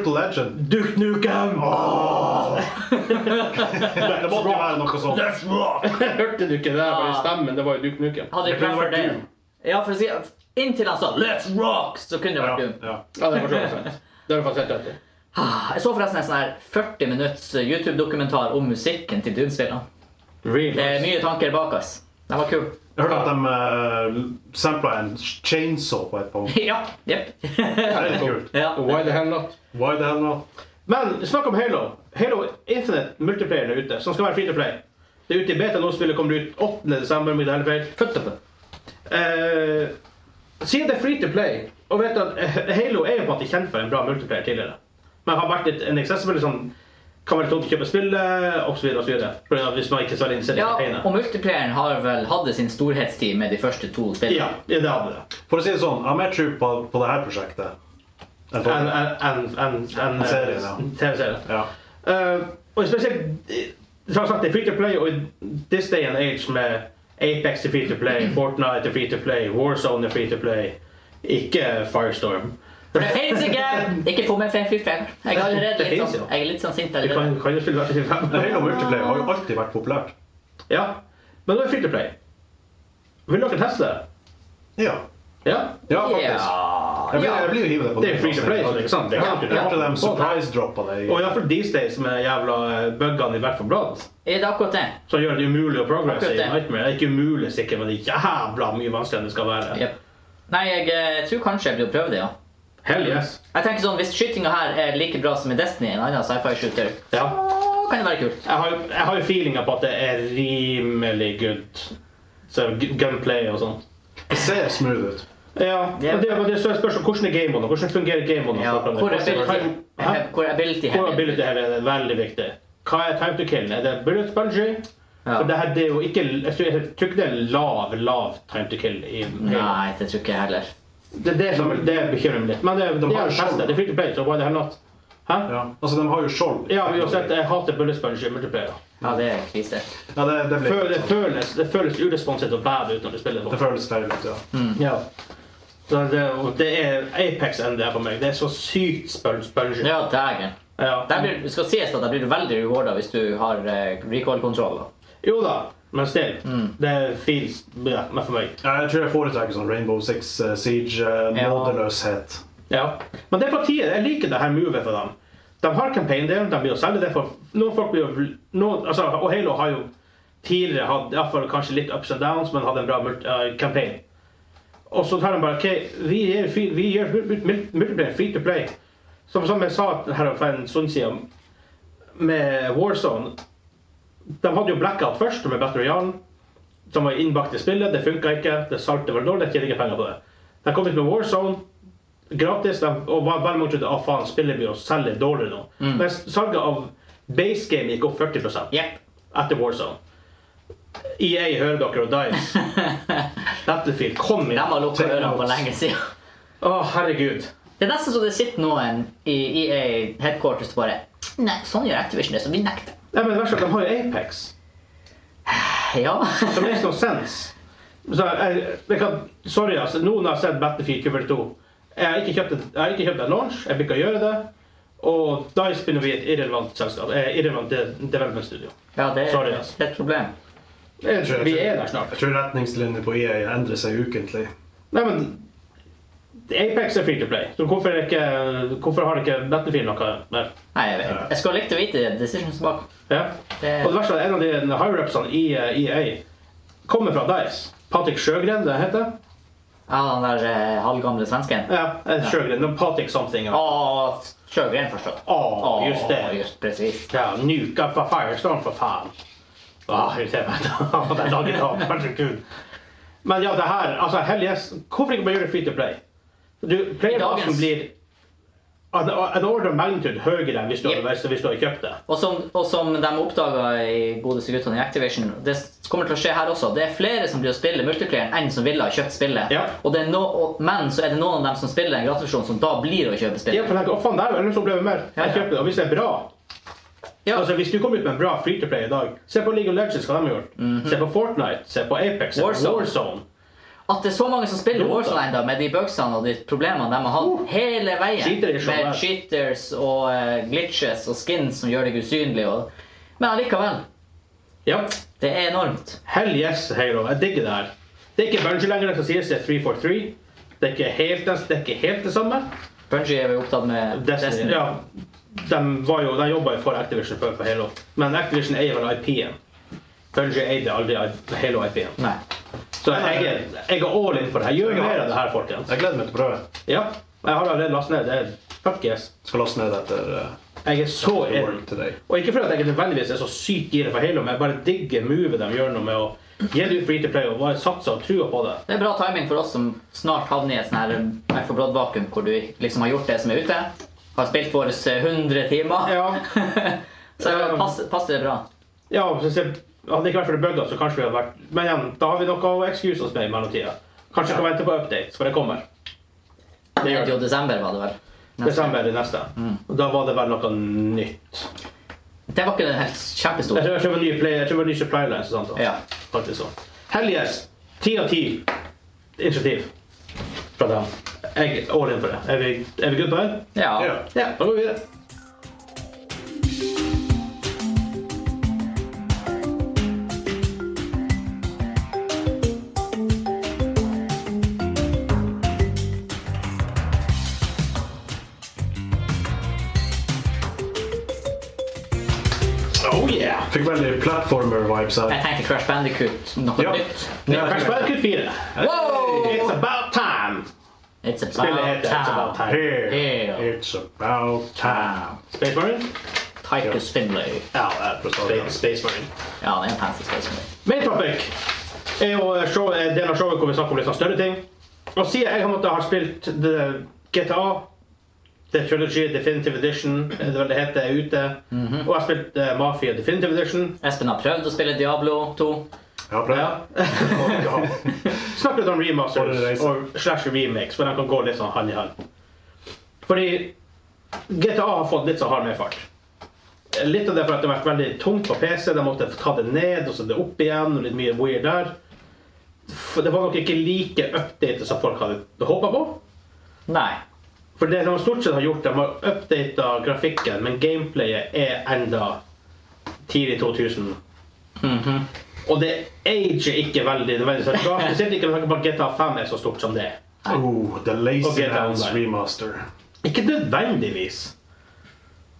Legend?
Duke Nukem!
Det måtte jo være noe sånt.
Let's rock! Hørte du ikke det? Bare stemmen, det var jo Duke Nukem.
Hadde det ikke vært for det Ja, for å si Inntil han sa 'Let's rock', så kunne det
Ja,
vært Doom.
ja.
Ja, det er for så vidt sant. Det har du faktisk helt rett i.
Ah, Jeg så forresten en sånn her 40 minutts eh, YouTube-dokumentar om musikken til Doom-spillene.
Real.
Det er mye tanker bak oss. Den var kul.
Jeg hørte at de eh, sampla en chainsaw på et punkt.
ja. Jepp.
Det er litt kult.
ja.
Why the hell not?
Why the hell not?
Men snakk om Halo. Halo Infinite multiplayer er ute, som skal være free to play. Det er ute i beta nå, spillet kommer ut 8. desember, om ikke det er helt feil.
Født opp.
Eh, siden det er free to play, og vet at eh, Halo er jo på en måte kjent for en bra multiplayer tidligere, men har vært litt en accessible sånn kan være tungt å kjøpe spillet osv. Hvis man ikke er så veldig interessert i
Ja,
campaignen.
og multiplayeren har vel hadde sin storhetstid med de første to
Ja,
spillene.
det hadde det.
For å si det sånn, jeg har mer tro på, på det her prosjektet. enn på-
En, en, en, en, en,
En serie, ja.
en TV-serie.
Ja.
Eh, og spesielt eh, som sagt, det er free to play, og i this day and age med Apex er free to play, Fortnite er free to play, Warzone er free to play, ikke Firestorm.
For det fins ikke! Ikke få med fem fy fem. Jeg er allerede
Det
litt
finnes
sånn,
jo.
jeg er litt sånn sint
Du kan,
allerede.
kan jo spille hvert sitt fem.
Halo Multiplayer har jo alltid vært populært.
Ja, men nå er det free to play. Vil dere teste det?
Ja.
Ja.
Ja, faktisk. Jeg blir, jeg blir jo hivet på
Det er free to play, så det er ikke sant? Ah, Det er
Ja,
klart du
Jeg hørte
det.
de surprise-droppa det. i-
Og iallfall these days med jævla eh, buggene i hvert fall blad,
Er det akkurat det?
som gjør det umulig å progresse
Akkurat
i
det.
Nightmare. Det er ikke umulig sikkert, men det er jævla mye vanskeligere enn det skal være.
Jep. Nei, jeg eh, tror kanskje jeg blir å prøve det, ja.
Hell yes.
Jeg tenker sånn, Hvis skytinga her er like bra som i Destiny, en annen sci-fi-shooter,
Ja.
så kan det være kult.
Jeg har, jo- jeg har jo feelinga på at det er rimelig good. Så gu- gunplay og sånn.
Det ser smooth ut.
Ja, men det, men det er spørsmål hvordan er gamene? Hvordan fungerer gamene?
Ja, hvor er ability?
Hæ?
Hvor er ability
Hvor
heavy?
ability her er veldig viktig. Hva er time to kill? Er det bullet spongy?
Ja.
For det her det er jo ikke Jeg tror jeg tror ikke det er lav, lav time to kill. I,
Nei, det tror ikke jeg heller.
Det er det som det bekymrer meg litt. Men det, de
De
har
har
jo
jo
testet. Det er free to play, så why the hell not? Hæ?
Ja. Altså, de har jo skjold.
Ja, vi har sett, jeg hater bullet spongy i multiplayer.
Ja, det er krise.
Ja, det, det blir sånn.
Fø- Det føles, det føles uresponsivt å bære ut når du spiller sånn.
Det føles feil ut, ja.
Ja. Så det, og det er Apex enn det er for meg. Det er så sykt spøl- spongy.
Ja, dægen. Det blir, det skal sies at det blir veldig rewarda hvis du har eh, recoil-kontroll. da.
Jo da, men still. Det feels bra men for meg.
Jeg tror jeg foretrekker sånn Rainbow Six eh, Siege, eh,
Ja.
nådeløshet.
Ja. Men det partiet, jeg liker det her movet for dem. De har campaign-delen, de blir jo selge det for noen folk blir jo, noen, altså, Og Halo har jo tidligere hatt i hvert fall kanskje litt ups and downs, men hadde en bra multi, eh, campaign. Og så tar de bare OK, vi gjør, fi- vi gjør mul- mul- mul- multiplayer free to play. Som, som jeg sa her for en stund siden, med Warzone De hadde jo blackout først med Battle Royale, som var innbakt i spillet. Det funka ikke. Det salte var dårlig. Jeg tjente ikke penger på det. De kom ut med Warzone gratis. De, og var veldig mange trodde at faen, spillet blir å selge dårlig nå. Men salget av base game gikk opp 40
Jepp.
etter Warzone. EA E hører dere og Dice. Battlefield, kom
De
igjen!
har lukka
Take
ørene for
notes.
lenge siden.
Å, herregud.
Det er nesten så det sitter noen i EA headquarters og bare Nei, sånn gjør Activision det, så vi nekter.
Nei, men det verste er at de har jo Apex.
Ja.
Det makes no sense. Så jeg, jeg kan, sorry, altså. Nå når jeg har sett Battlefield 42 Jeg har ikke kjøpt et- jeg har ikke kjøpt en launch. Jeg vil ikke gjøre det. Og Dice begynner å bli et irrelevant selskap. Eh, irrelevant de- development studio.
ja, det er
Sorry,
det
ass.
er et problem.
Jeg tror- Vi er der
Jeg
snart.
tror retningslinjer på EA endrer seg ukentlig.
Nei, men Apex er free to play. Så hvorfor, er ikke, hvorfor har ikke Battlefield noe mer?
Nei, jeg vet. Jeg skulle likt å vite decisions bak.
Ja.
Det-
Og det verste er at en av de high-repsene i eh, EA kommer fra Dice. Patrick Sjøgren, det heter.
Ja, den der eh, halvgamle svensken.
Ja, eh, Sjøgren. no, Patrick something.
Å, Sjøgren, forstått.
Å, just det.
Just precis.
Ja, nuka fra Firestorm, for faen. Ah, irriterer meg. Den dagen har vært så kul. Men ja, det her altså, hell yes. Hvorfor ikke bare gjøre det free to play? Du, Playerbasen
Dagens-
blir en, en order of magnitude høyere enn hvis du,
Yep.
hadde- hvis du hadde kjøpt det.
Og som, og som de oppdaga i godeste guttene i Activision, det kommer til å skje her også. Det er flere som blir å spille multiplayer enn som ville ha kjøpt spillet.
Ja.
Og det er no, og, men så er det noen av dem som spiller en gratisversjon, som da blir å kjøpe
Jeg
spillet.
tenker, å faen, det er jo en som opplever mer.
Ja, ja.
Jeg kjøper det. Og hvis det er bra
Ja.
altså Hvis du kommer ut med en bra free to play i dag Se på League of Legends, hva de har gjort. Se på Fortnite, se på Apex, se på
Mhm. Warzone.
Warzone.
At det er så mange som spiller Warzone ennå, med de bugsene og de problemene de har hatt hele
Uh.
veien.
Cheater er så
med
bad.
cheaters og eh, glitches og skins som gjør deg usynlig. Og... Men allikevel.
Ja.
Det er enormt.
Hell yes, Halo. Jeg digger det her. Det er ikke Bungie lenger som sies, det er 343. Det er ikke helt det, det, er ikke helt det samme.
Bungie er vi opptatt med
Destiny,
Destiny.
Ja, de, var jo, de jobba jo for Activision før for Halo, men Activision eier vel IP-en. Bungie eide aldri Halo-IP-en.
Nei.
Så jeg er, jeg er all in for det. Jeg gjør mer av det her, folkens.
Jeg gleder meg til å prøve.
Ja, jeg har allerede lastet ned. Det er fuck yes.
Skal laste ned etter eh,
Jeg er så in.
World today.
Og ikke fordi at jeg nødvendigvis er så sykt gira for Halo, men jeg bare digger movet de gjør nå med å gi det ut free to play og bare satse og trua på det.
Det er bra timing for oss som snart havner i et sånn her Back for Blood-vakuum, hvor du liksom har gjort det som er ute. Har spilt våre 100 timer.
Ja. Um.
så passer, passer det bra.
Ja, så se, hadde det ikke vært for det bugga, så kanskje vi hadde vært Men igjen, da har vi noe å excuse oss med i mellomtida. Kanskje vi kan vente på updates, for det kommer. Det gjør
30.
det.
desember var det vel. Neste.
Desember er det neste. Og da var det vel noe nytt.
Det var ikke helt
Jeg
kjempestort.
tror jeg kjøper ny, play, jeg tror det var ny supply line. Sånn, da.
Ja.
Faktisk sånn. Hell yes! Ti av ti initiativ fra dem. Jeg er all in for det. Er vi, er vi good på det?
Ja.
Ja.
Ja, da går vi videre. Oh yeah!
Fikk veldig platformer-vibes
Eh,
her.
Jeg tenkte Crash Bandicoot. Noe
Ja.
nytt.
Ja,
Kanskje bare kutt fire. It's about time!
It's about
Spillet heter It's About
time.
Time.
Here,
Here.
It's about time.
Space Marine?
Tychus Finlay.
Ja, det er Space- Space Marine.
Ja, det er en fancy space movie.
Main topic er jo eh, show, eh, delen av showet hvor vi snakker om litt sånn større ting. Og siden jeg har måttet ha spilt eh, det- GTA, The Trilogy, Definitive Edition, eh, det vel det heter, er ute. Og jeg har spilt eh, Mafia Definitive Edition.
Espen har prøvd å spille Diablo 2.
Ja, bra.
Ja.
Ja.
Snakker litt om
Får du
remasters
reise?
og slash remakes, for de kan gå litt sånn hand i hand. Fordi GTA har fått litt sånn hard medfart. Litt av det er for at det har vært veldig tungt på PC. De måtte ta det ned og så det opp igjen. og litt mye weird der. For Det var nok ikke like updated som folk hadde håpa på.
Nei.
For det de stort sett har gjort, de har updata grafikken, men gameplayet er enda tidlig 2000. Og det ager ikke veldig nødvendigvis. Det er bra, Spesielt ikke med tanke på at GTA 5 er så stort som det er.
Oh, The Lazy
Og GTA
Hands
Online.
remaster.
Ikke nødvendigvis.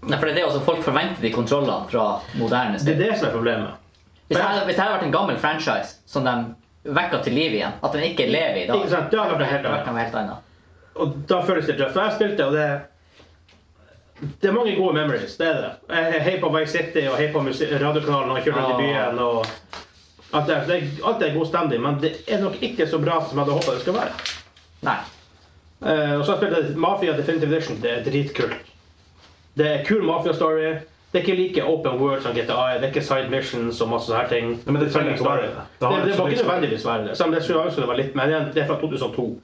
Nei, for det er det også folk forventer de kontrollene fra moderne
Det
spill.
er det som er problemet.
Hvis dette hvis det hadde vært en gammel franchise som de vekka til liv igjen, at den ikke lever i dag
Ikke sant? Det hadde vært noe helt
Det
annet.
kan være helt annet.
Og da føles det tøft. Og jeg spilte, og det Det er mange gode memories. det er det. Jeg heier på Vice City og heier på musi- radiokanalen og kjører rundt i
Ja.
byen. og at det, det, er- Alt er god standing, men det er nok ikke så bra som jeg hadde håpa det skulle være.
Nei.
Eh, og så har jeg spilt Mafia Definitive Edition. Det er dritkult. Det er kul Mafia-story. Det er ikke like open world som GTA er. Det er ikke side missions og masse sånne her ting.
Nei, men det trenger ikke være det.
det.
Det har
Det,
liksom
det
ikke
må
så
ikke
mye-
nødvendigvis være det. Selv om det skulle jeg ønske det var litt, men igjen, det er fra 2002.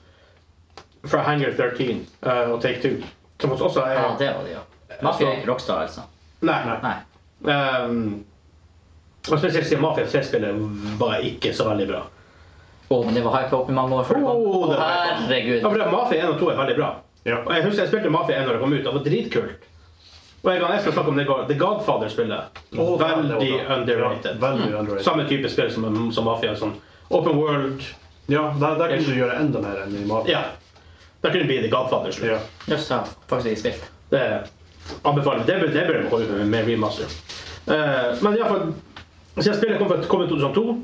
Fra Hangar 13 eh, og Take Two. Som også er
Ja, det var det, ja. Mafia er ikke Rockstar, altså.
Nei.
Nei.
Ehm, og spesielt siden Mafia 3-spillet var ikke så veldig bra.
Å, men det var hype opp i mange år før det kom.
Oh, det var hype.
Herregud.
Ja, for det, Mafia 1 og 2 er veldig bra.
Ja.
Og jeg husker jeg spilte Mafia 1 når det kom ut. Det var dritkult. Og jeg kan nesten snakke om det går- The Godfather-spillet.
Å, det var- det var
veldig
bra.
underrated.
Ja, veldig underrated.
Samme type spill som, som Mafia. Sånn open world.
Ja, der, der kunne du gjøre enda mer enn i Mafia.
Ja. Da kunne det bli The Godfather. Slutt.
Ja.
Jøss, jeg har faktisk ikke spilt.
Det anbefaler Det bør det bør de holde ut med, med remaster. Eh, men iallfall Siden spillet kom, fra- kom i 2002,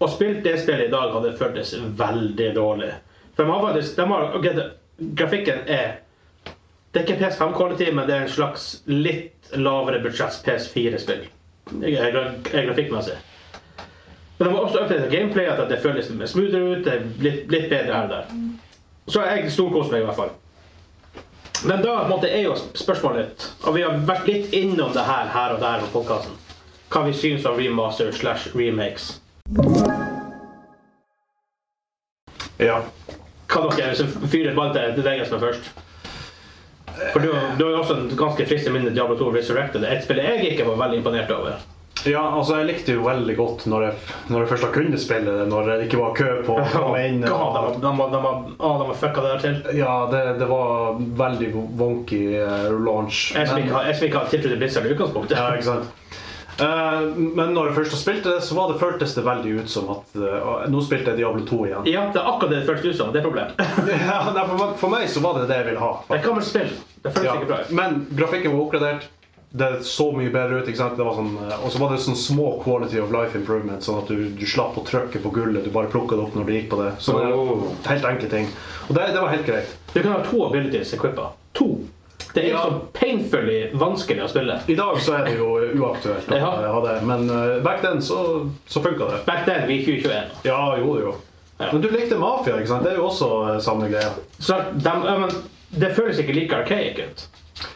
og spilt det spillet i dag hadde føltes veldig dårlig. For de har faktisk de har, ok, det, Grafikken er Det er ikke PS5-kvalitet, men det er en slags litt lavere budsjetts PS4-spill. eh, Grafikkmessig. Men de har også oppdatert gameplayet, at det føles litt mer smoothere ut. Det er litt, litt bedre her og der. Så jeg storkoser meg i hvert fall. Men da på en måte, er jo spørsmålet litt, og vi har vært litt innom det her her og der på podkasten, hva vi syns om remaster slash remakes.
ja.
Hva dere så fyrer ball til til deg som er først? For du, du har jo også en ganske fristende minne Diablo 2 Resurrected. Et spill jeg ikke var veldig imponert over.
Ja, altså jeg likte jo veldig godt når jeg, når jeg først da kunne spille det, når det ikke var kø på å komme inn.
God, de, de, de, de, å, de har fucka det der til.
Ja, det, det var veldig wonky eh, launch.
Jeg som
men-
ikke har- jeg som ikke har tiltro til Blizzard i utgangspunktet.
Ja, ikke sant. Eh, men når jeg først har spilt det, så var det, føltes det veldig ut som at eh, nå spilte jeg Diablo 2 igjen.
Ja, det er akkurat det det føltes ut som. Det er problemet.
Ja, nei, for, meg- for meg så var det det jeg ville ha.
Det er et gammelt spill. Det føles
Ja,
ikke bra ut.
men grafikken var oppgradert. Det så mye bedre ut. ikke sant? Det var sånn, eh, og så var det sånn små quality of life improvement, sånn at du, du slapp å trykke på gullet. Du bare plukka det opp når du gikk på det. Så det
Oh.
var Helt enkle ting. Og det, det var helt greit.
Du kan ha to abilities equippa. To. Det er
Ja.
så painfully vanskelig å spille.
I dag så er det jo uaktuelt å
Ja.
ha det, men eh, back then så, så funka det.
Back then, vi er 2021.
Ja, jo, jo.
Ja.
Men du likte mafia, ikke sant? Det er jo også eh, samme greia.
Så de, ja, men, det føles ikke like archaic ut.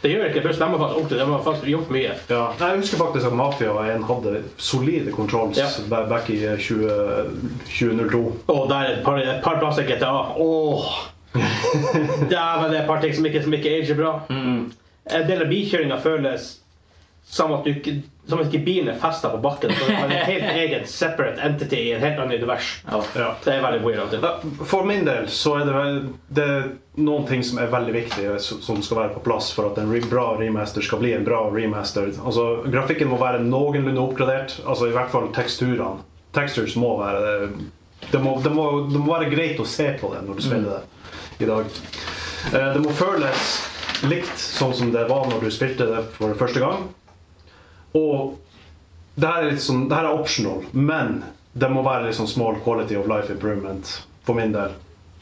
Det gjør ikke det. Først, De har faktisk ordentlig, de har faktisk gjort mye.
Ja. Jeg husker faktisk at Mafia 1 hadde solide controls
Ja.
ba- back i eh, 20, 2002.
Og der er et par, et par plasser i GTA. Åh! Dæven, det er et par ting som ikke, som ikke ager bra. En del av bilkjøringa føles som at, du, ikke- som at ikke bilen er festa på bakken. Så det er en helt egen separate entity i et helt annet univers.
Ja.
Ja.
Det er veldig weird. av og til.
Ja, For min del så er det, vel, det er noen ting som er veldig viktige s- som skal være på plass for at en re- bra remaster skal bli en bra remaster. Altså, grafikken må være noenlunde oppgradert. Altså i hvert fall teksturene. Textures må være eh, det må, det, må, det må være greit å se på det når du spiller det i dag. Eh, Det må føles likt sånn som det var når du spilte det for første gang. Og det her er litt sånn, det her er optional, men det må være litt sånn small quality of life improvement for min del.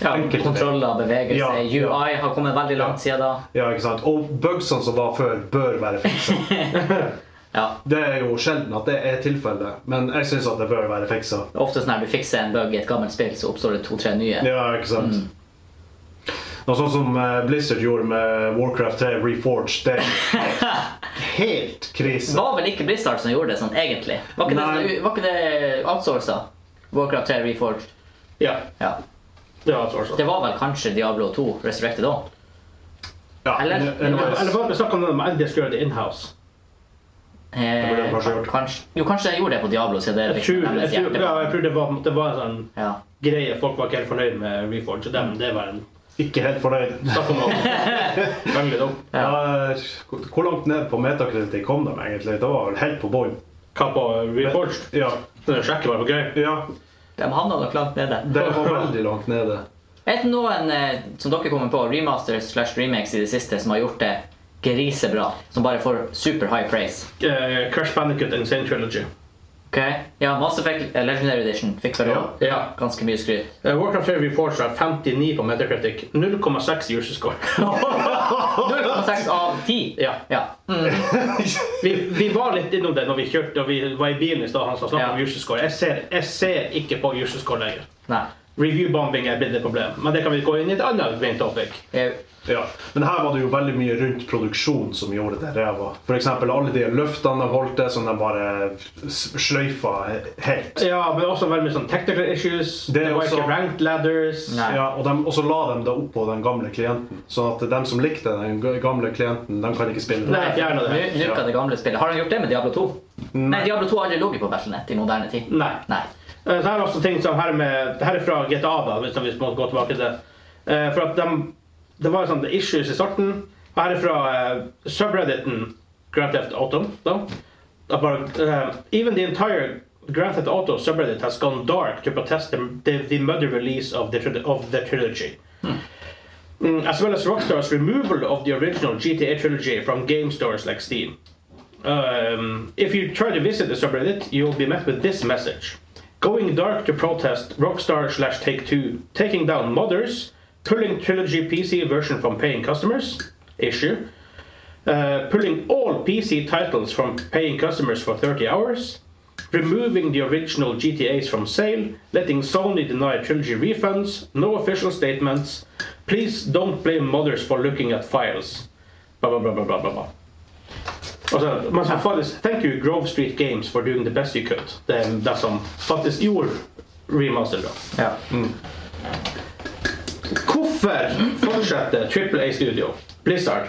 Ja,
Enkelte.
Kontroller, bevegelse,
Ja, ja.
UI har kommet veldig langt siden da.
Ja, ikke sant? Og bugsene som var før, bør være fiksa.
Ja.
Det er jo sjelden at det er tilfellet, men jeg syns at det bør være fiksa.
Det er Ofte sånn her du fikser en bug i et gammelt spill, så oppstår det to-tre nye.
Ja, ikke sant? Noe sånn som eh, Blizzard gjorde med Warcraft 3 Reforged, det er helt
Det
krise.
var vel ikke Blizzard som gjorde det sånn, egentlig? Var ikke det, sånn,
Nei.
var ikke det outsourca? Warcraft 3 Reforged?
Ja,
Ja.
det var altså
Det var vel kanskje Diablo 2 Resurrected òg?
Ja,
Eller-
anyways.
Eller var det snakk om det med endelig skulle gjøre det inhouse?
Eh,
burde de kanskje gjort.
kanskje, jo, kanskje jeg gjorde det på Diablo, siden det
Jeg
liksom
tror, jeg
hennes
tror,
hjerte.
ja, jeg tror det, var, det var en sånn
Ja.
greie folk var ikke helt fornøyd med Reforge. og Dem, det var en
Ikke helt fornøyd.
Snakk om å velge det opp.
Ja.
Ja, hvor langt ned på metakritikk kom de egentlig? Det var vel helt på bånn.
Hva på Reforge?
Ja,
Sjekke bare på gøy.
ja,
De havna nok langt nede.
det var veldig langt nede.
Er det noen eh, som dere kommer på, remasters slash remakes i det siste, som har gjort det grisebra? Som bare får super high praise?
Eh, Crash Bandicoot Insane Trilogy.
Ok? Ja, Mass Effect eh, Legendary Edition fikk vel
Ja.
også
Ja.
ganske mye skryt.
Eh, Warcraft 3 Reforged har 59 på Metacritic. 0,6 i user score.
0,6 av 10.
Ja.
Ja. Mm.
Vi, vi var litt innom det når vi kjørte og vi var i bilen i stad. Han sa snakk om
Ja.
user score. Jeg ser, jeg ser ikke på user score lenger.
Nei.
Review-bombing er blitt et problem, men det kan vi gå inn i et annet main topic.
Jeg,
Ja, Men her var det jo veldig mye rundt produksjon som gjorde det ræva. F.eks. alle de løftene de holdt, det som de bare s- sløyfa he- helt.
Ja, men også veldig mye sånn technical issues.
Det
Det,
er
var
også-
ikke ranked ladders.
Nei.
Ja, og, de, og så la de det oppå den gamle klienten. Sånn at de som likte den ga- gamle klienten, de kan ikke spille
Nei,
det.
fjerna det.
nu- Nuka det gamle spillet. Har han gjort det med Diablo 2? Nei, Mm. Diablo 2 har aldri ligget på Battle.net i moderne tid.
Nei.
Nei.
Eh, Så her er også ting som her, med, her er fra GTA, da, hvis vi må gå tilbake til det. Eh, For at dem- det var sånn issues i starten. Her er fra eh, subredditen Grand Theft Auto. Da. At bare, eh, even the entire Grand Theft Auto subreddit has gone dark to protest the, the, the mother release of the, tril- of the trilogy. Mm, as well as Rockstar's removal of the original GTA trilogy from game stores like Steam. Um, if you try to visit the subreddit, you'll be met with this message. Going dark to protest Rockstar slash Take Two taking down modders, pulling trilogy PC version from paying customers, issue, uh, pulling all PC titles from paying customers for 30 hours, removing the original GTAs from sale, letting Sony deny trilogy refunds, no official statements, please don't blame modders for looking at files, blah blah blah blah blah blah. blah. Altså, man som faktisk, thank you Grove Street Games for doing the best you could. Det er det som faktisk gjorde remaster bra.
Ja. Mm.
Hvorfor fortsetter Triple A Studio, Blizzard,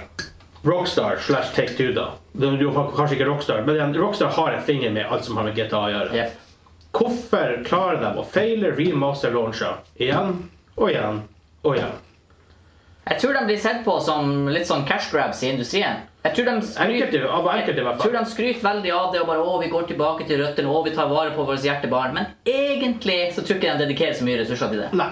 Rockstar slash Take Two, da. Det er jo kanskje ikke Rockstar, men igjen, Rockstar har en finger med alt som har med GTA å gjøre.
Jepp.
Hvorfor klarer de å feile remaster-launcher igjen og igjen og igjen?
Jeg tror de blir sett på som litt sånn cash grabs i industrien. Jeg tror de
Enkelte, av enkelte i
jeg
hvert
tror
fall.
de skryter veldig av det og bare 'Å, vi går tilbake til røttene, og vi tar vare på våre hjertebarn', men egentlig så tror jeg ikke de dedikerer så mye ressurser til det.
Nei.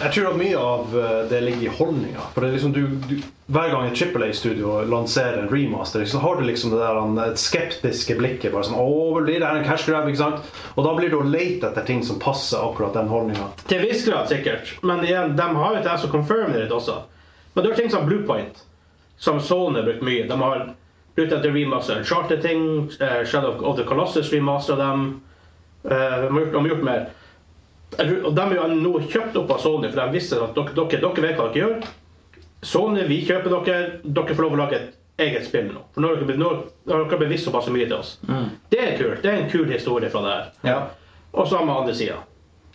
Jeg tror at mye av eh, det ligger i holdninga. For det er liksom du, du, Hver gang et Triple A-studio lanserer en remaster, så har du liksom det der han, et skeptiske blikket. bare sånn, Åh, blir det her en cash grab, ikke sant? Og da blir du å lete etter ting som passer akkurat den holdninga.
Til en viss grad, sikkert. Men igjen, de har jo til som confirmer det også. Men du har ting som Bluepoint, som Sony har brukt mye. De har brukt etter remaster Charter-ting, eh, Shadow of the Colossus remaster dem. Eh, de, har gjort, de har gjort mer. Jeg tror- Og de er jo nå kjøpt opp av Sony, for de visste at dere, dere, dere vet hva dere gjør. Sony, vi kjøper dere. Dere får lov å lage et eget spill nå. For nå har dere, be- nå har dere bevisst såpass mye til oss. Det er kult. Det er en kul historie fra det her.
Ja.
Og så har vi andre sida.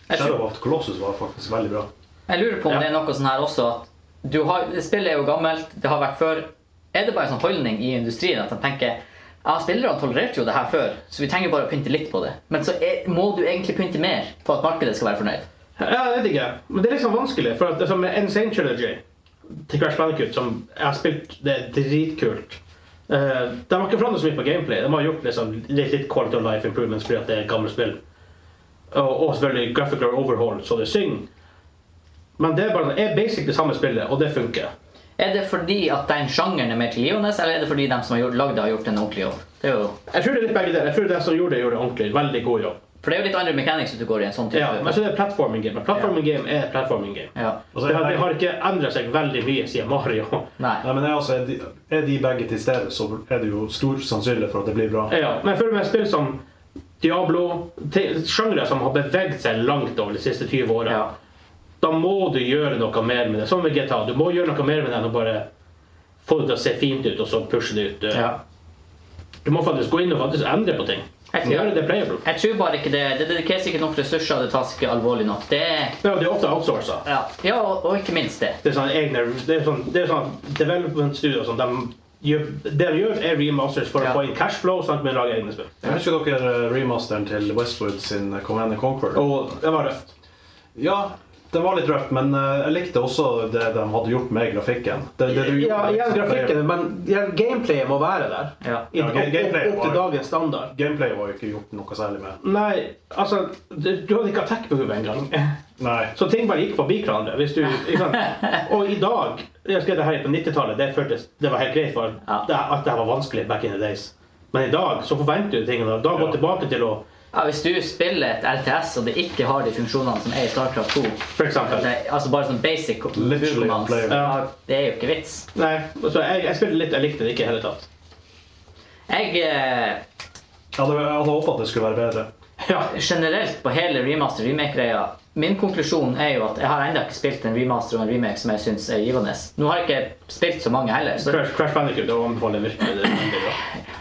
Jeg tror-
Shadow of the Colossus var faktisk veldig bra.
Jeg lurer på om
Ja.
det er noe sånn her også at du har, Spillet er jo gammelt, det har vært før. Er det bare en sånn holdning i industrien at de tenker ja, spillerne tolererte jo det her før, så vi trenger bare å pynte litt på det. Men så er, må du egentlig pynte mer for at markedet skal være fornøyd.
Ja, jeg vet ikke. Men det er liksom vanskelig. For at det er som med Insane Trilogy til Crash Bandicoot, som jeg har spilt, det er dritkult. Eh, de har ikke forandret så mye på gameplay. De har gjort liksom, litt, litt quality of life improvements fordi at det er et gammelt spill. Og, og selvfølgelig graphical overhaul, så det synger. Men det er bare det er basically det samme spillet, og det funker.
Er det fordi at den sjangeren er mer tilgivende, eller er det fordi de som har gjort, lagd det, har gjort en ordentlig jobb? Det er jo,
Jeg tror det er litt begge deler. Jeg tror det som gjorde det, gjorde det ordentlig. Veldig god jobb.
for det er jo litt andre mechanics du går i en sånn type.
Ja, men så er det platforming game. Men platforming game er platforming game.
Ja.
Altså,
det, har,
jeg-
det har ikke endret seg veldig mye siden Mario.
Nei.
Nei, men jeg, altså, er, de, er de begge til stede, så er det jo stor sannsynlighet for at det blir bra.
Ja, men jeg føler meg spill som Diablo te- Sjangre som har beveget seg langt over de siste 20 åra.
Ja.
Da må du gjøre noe mer med det. Som med GTA. Du må gjøre noe mer med det enn å bare få det til å se fint ut, og så pushe det ut.
Ja.
Du må faktisk gå inn og faktisk endre på ting.
Jeg tror-
Gjøre det playable.
Jeg tror bare ikke det Det dedikeres ikke nok ressurser, det tas ikke alvorlig nok. Det er
Ja, det er ofte outsourca.
Ja, ja og, og ikke minst det.
Det er sånne egne Det er sånn, det er sånn development studio som de gjør, det de gjør, er remasters for
Ja.
å få inn cashflow, sånn at vi lager egne spill.
Jeg husker dere eh, remasteren til Westwood sin eh, Command and Conquer.
Og det var røft.
Ja, den var litt røff, men eh, jeg likte også det de hadde gjort med grafikken. Det, det du
Ja,
gjorde,
igjen
liksom,
grafikken, men igjen, gameplayet må være der.
Ja.
I,
Ja, ga-
opp,
gameplayet
opp til
var-
dagens standard.
Gameplay var jo ikke gjort noe særlig med.
Nei, altså Du, du hadde ikke attack-behov engang.
Nei.
Så ting bare gikk forbi hverandre. Hvis du, ikke sant? Og i dag Jeg skrev det her på 90-tallet. Det, føltes- det var helt greit, for
Ja.
det, at det her var vanskelig back in the days. Men i dag så forventer du ting. og Da går
Ja.
tilbake til å
Ja, Hvis du spiller et RTS og det ikke har de funksjonene som er i Starcraft 2
For eksempel.
det, Altså bare sånn basic
Literally
funksjonans,
player.
ja, Det er jo ikke vits.
Nei, så jeg, jeg spilte litt, jeg likte det ikke i det hele tatt.
Jeg eh,
Jeg hadde, jeg hadde håpet at det skulle være bedre.
Ja.
generelt på hele remaster remake-greia Min konklusjon er jo at jeg har ennå ikke spilt en remaster og en remake som jeg syns er givende. Nå har jeg ikke spilt så mange heller. Så,
Crash, Crash Bandicoot, det anbefaler jeg virkelig. Det er veldig bra.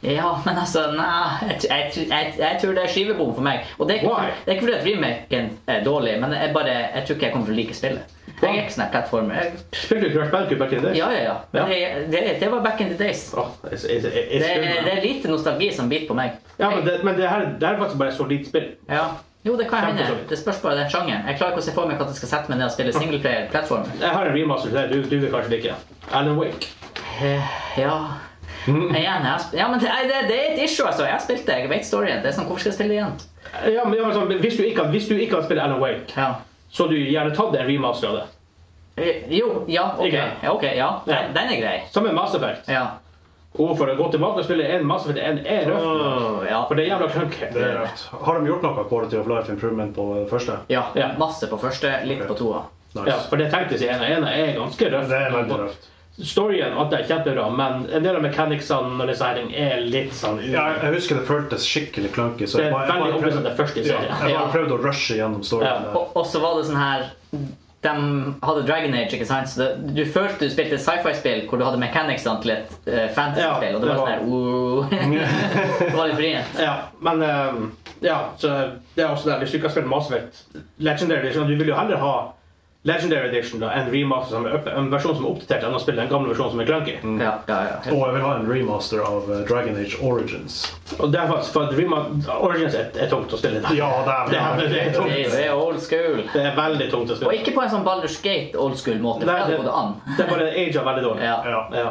ja, men altså, nei, jeg, jeg, jeg, jeg tror det er skivebom for meg. Og det er,
Why?
ikke, det er ikke fordi at remaken er dårlig, men jeg, bare, jeg tror ikke jeg kommer til å like spillet. Jeg er ikke sånn her plattformer. Jeg-
Spilte du Crash Bandicoot back in the days?
Ja, ja, ja. Men Det, det, det var back in the days.
Åh, jeg- jeg- jeg- jeg- jeg
Det,
skulle-
det er lite nostalgi som biter på meg.
Ja, men det, men det, her, det her er faktisk bare et solid spill.
Ja. Jo, det kan
Kjempe
hende.
solid.
Det spørs bare den sjangeren. Jeg klarer ikke å se for meg at jeg skal sette meg ned og spille singleplayer-plattformer.
Jeg har en remaster til deg. Du, du vil kanskje like Alan Wake.
Eh, Ja.
Mm.
Igjen, jeg har sp- ja, men det, nei, det, det er et issue, altså. Jeg har spilt det. Jeg vet storyen. Det er sånn, hvorfor skal jeg spille det igjen?
Ja, men, ja, men sånn, hvis, du ikke, hadde- hvis du ikke hadde spilt Alan Wake,
Ja.
så hadde du gjerne tatt en remaster av det.
Eh, Jo, ja, ok.
Ikke?
Ja, ok, ja.
Ja.
Den, den er grei.
Som med Mass Effect.
Ja.
Og for å gå tilbake og spille en Mass Effect en er røft.
Åh, ja.
For Ah. det er jævla clunky.
Det er røft. Har de gjort noe quality of life improvement på det første?
ja.
Ja.
Masse på første, litt
Ok.
på toa.
Nice.
Ja, for det tenkte jeg ena. Ena er ganske røft.
Det er veldig røft.
Storyen at det er kjempebra, men en del av mechanicsene og designing er litt sånn
Ja, jeg- jeg husker det føltes skikkelig clunky. Så
Det er
jeg bare- jeg
veldig
bare
obvious at
prøvde-
det er først i
Ja,
serien.
jeg
Ja.
bare prøvde å rushe gjennom storyen.
Ja.
der.
Og, og så var det sånn her De hadde Dragon Age, ikke sant? Så det, du følte du spilte et sci-fi-spill hvor du hadde mechanicsene til et eh, fantasy-spill.
Ja,
og det var sånn her
det
«Ooh». Det var litt vrient.
Ja, men ehm, Ja, så det er også der. Hvis du ikke har spilt Mass Effect Legendary, så du vil jo heller ha Legendary Edition da, en remaster som er opp, en versjon som er oppdatert enn å spille den gamle versjonen som er clunky.
Ja, ja, ja. helt-
Og jeg vil ha en remaster av eh, Dragon Age Origins.
Og det er faktisk for at rema- Origins er, er tungt å spille i dag.
Ja,
det, er, det, er
dæven.
Det,
tungt.
det er old school.
det er veldig tungt å
Og
spille.
ikke på en sånn Baldur's Gate old school måte, for
Nei,
det hadde
det-
gått an.
Det er bare age veldig dårlig.
Ja.
Ja.
Ja.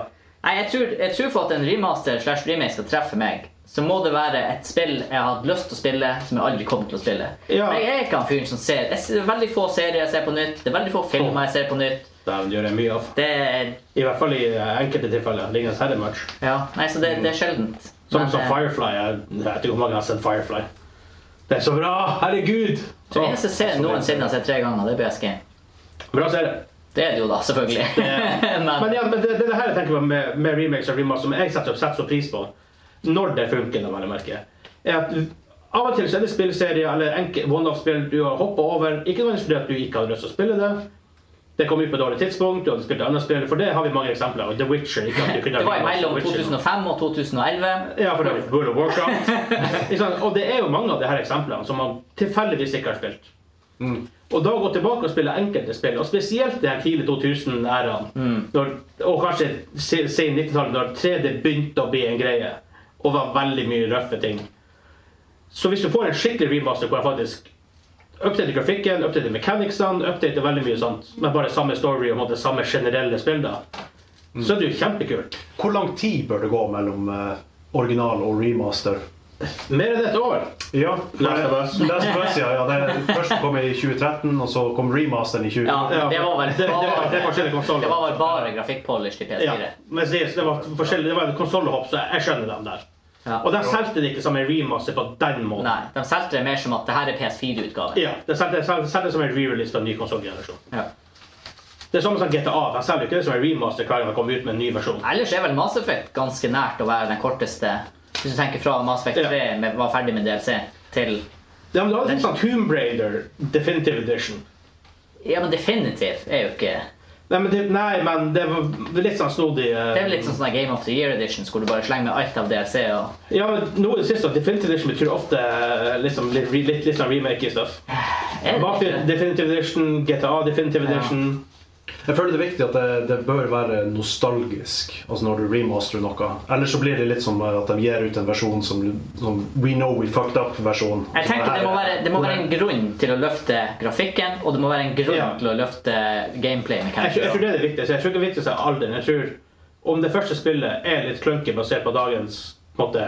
Nei, jeg tror, jeg tror for at en remaster slash remake skal treffe meg, så må det være et spill jeg har hatt lyst til å spille, som jeg aldri kommer til å spille.
Ja.
Men jeg er ikke han fyren som ser jeg ser veldig få serier jeg ser på nytt, det er veldig få filmer jeg ser på nytt.
Dæven, det gjør jeg mye av.
Det er,
I hvert fall i eh, enkelte tilfeller. Lignende herrematch.
ja, nei, så det, det er sjeldent.
Som,
Men,
som
eh,
Firefly. Jeg vet ikke hvor mange jeg har sett Firefly. Det er så bra! Herregud!
Det eneste serien noensinne jeg har sett tre ganger, det er BSG.
Bra serie.
Det er det jo da, selvfølgelig.
Ja. Men,
Men
ja, men det, det er det her jeg tenker på med, med remakes og remakes som jeg setter, setter så pris på, når det funker, da, vel å merke, er at av og til så er det spillserier eller enke- one-off-spill du har hoppa over, ikke nødvendigvis fordi at du ikke hadde lyst til å spille det. Det kom ut på et dårlig tidspunkt, du hadde spilt et annet spill, for det har vi mange eksempler av. The Witcher. Ikke at du kunne
det var
ha remake
mellom
The Witcher.
2005 og 2011.
Ja, for det er World of Warcraft. Ikke sant? og det er jo mange av de her eksemplene som man tilfeldigvis ikke har spilt. Og da å gå tilbake og spille enkelte spill, og spesielt de her tidlig 2000-æraen, og kanskje se- sen 90-tallet, når 3D begynte å bli en greie, og var veldig mye røffe ting. Så hvis du får en skikkelig remaster hvor jeg faktisk Updater grafikken, updater mechanicsene, updater veldig mye sånt, men bare samme story og på en måte samme generelle spill, da. Så er det jo kjempekult.
Hvor lang tid bør det gå mellom eh, original og remaster?
Mer enn et år.
Ja,
Last of Us.
Last of Us, ja, ja. Det først kom i 2013, og så kom remasteren i 20...
Ja, det var vel
det, det var, det er
bare,
forskjellige konsoller.
det var vel bare grafikkpolish til
ja,
PS4.
men det, det var forskjellig, det var en konsolhopp, så jeg, jeg skjønner dem der.
Ja.
Og de solgte det ikke som en remaster på den måten.
Nei, de solgte det mer som at det her er PS4-utgave.
Ja, De solgte de solgte det som en re-release på en ny konsollgenerasjon.
Ja.
Det er samme som GTA. De selger ikke det som en remaster hver gang de kommer ut med en ny versjon.
Ellers er vel Mass Effect ganske nært å være den korteste Hvis du tenker fra Mass Effect
Ja.
3 med, var ferdig med DLC til
Ja, men det var litt sånn Tomb Raider Definitive Edition.
Ja, men definitivt er jo ikke
Nei, men det, nei, men det var litt sånn snodig eh,
Det er vel litt sånn sånn Game of the Year Editions hvor du bare slenger med alt av DLC og
Ja, men noe i det siste, Definitive Edition betyr ofte eh, liksom, litt, litt, litt sånn remake i stuff.
Er det
Mafia
ikke det?
Definitive Edition, GTA Definitive
Ja.
Edition.
Jeg føler det er viktig at det, det bør være nostalgisk altså når du remasterer noe. Ellers så blir det litt som at de gir ut en versjon som, som We Know We Fucked Up-versjon.
Jeg tenker det må, være, det må være en grunn til å løfte grafikken, og det må være en grunn
Ja.
til å løfte gameplay.
Jeg tror, jeg tror det er det viktigste. Jeg tror ikke det viktigste er alderen. Jeg tror om det første spillet er litt clunky basert på dagens på en måte,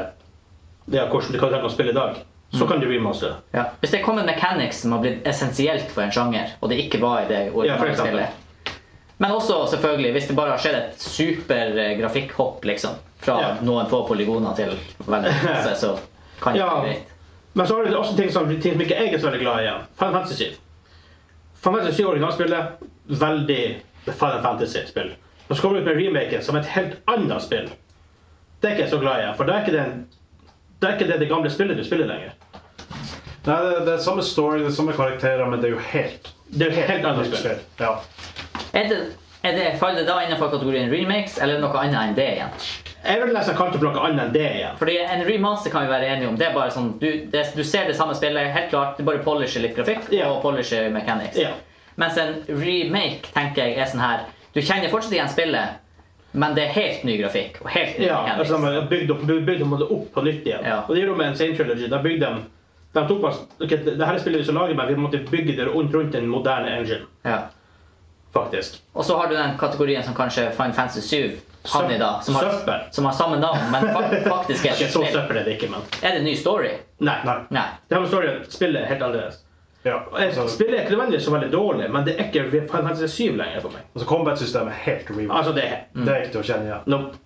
det er hvordan du kan tenke å spille i dag, så kan du remastere. det.
Ja. Hvis det kommer mechanics som har blitt essensielt for en sjanger, og det ikke var i det
Ja, for
originale
eksempel.
spillet Men også selvfølgelig hvis det bare har skjedd et super eh, grafikkhopp, liksom. Fra
Ja.
noen få polygoner til veldig masse, så kan det
Ja.
være greit.
Men så har du også ting som, ting som ikke jeg er så veldig glad i igjen. Final Fantasy 7. Final Fantasy 7 originalspillet, veldig Final Fantasy-spill. Og så kommer du ut med remaken som et helt annet spill. Det er ikke jeg så glad i, for det er ikke det, det, er ikke det, det gamle spillet du spiller lenger.
Nei, det, det er samme story, det er samme karakterer, men det er jo helt
Det er et helt annet
nytt
spill.
spill. Ja.
Er det, er det, faller det da innenfor kategorien remakes, eller noe annet enn det igjen?
Jeg vil nesten kalle det for noe annet enn det igjen.
Fordi en remaster kan vi være enige om. Det er bare sånn, Du, det, du ser det samme spillet, helt klart, du bare polisher litt grafikk
Ja.
og polisher mechanics.
Ja.
Mens en remake tenker jeg er sånn her Du kjenner fortsatt igjen spillet, men det er helt ny grafikk og helt ny
Ja,
mechanics.
altså de har bygd opp, bygd bygd opp, opp på nytt igjen.
liksom- Ja.
Og det gjorde de med Insane Trilogy. De bygde dem de tok bare, ok, det det her er spillet vi skal lage, men vi måtte bygge det rundt, rundt en moderne engine,
ja.
faktisk.
Og så har du den kategorien som kanskje Final Fantasy 7 havner i, da. Som har,
Søppel.
som har samme navn, men fak- faktisk er
Ikke
det
så
spill.
søppel er det ikke, men
Er det en ny story?
Nei.
Nei.
Nei.
Det har med story at spillet er helt annerledes.
Ja.
Og jeg-
Altså,
Spillet er ikke nødvendigvis så veldig dårlig, men det er ikke Final Fantasy 7 lenger for meg.
altså combat-systemet er helt remaster.
Altså, det er
Det er ikke til å kjenne igjen.
Nope.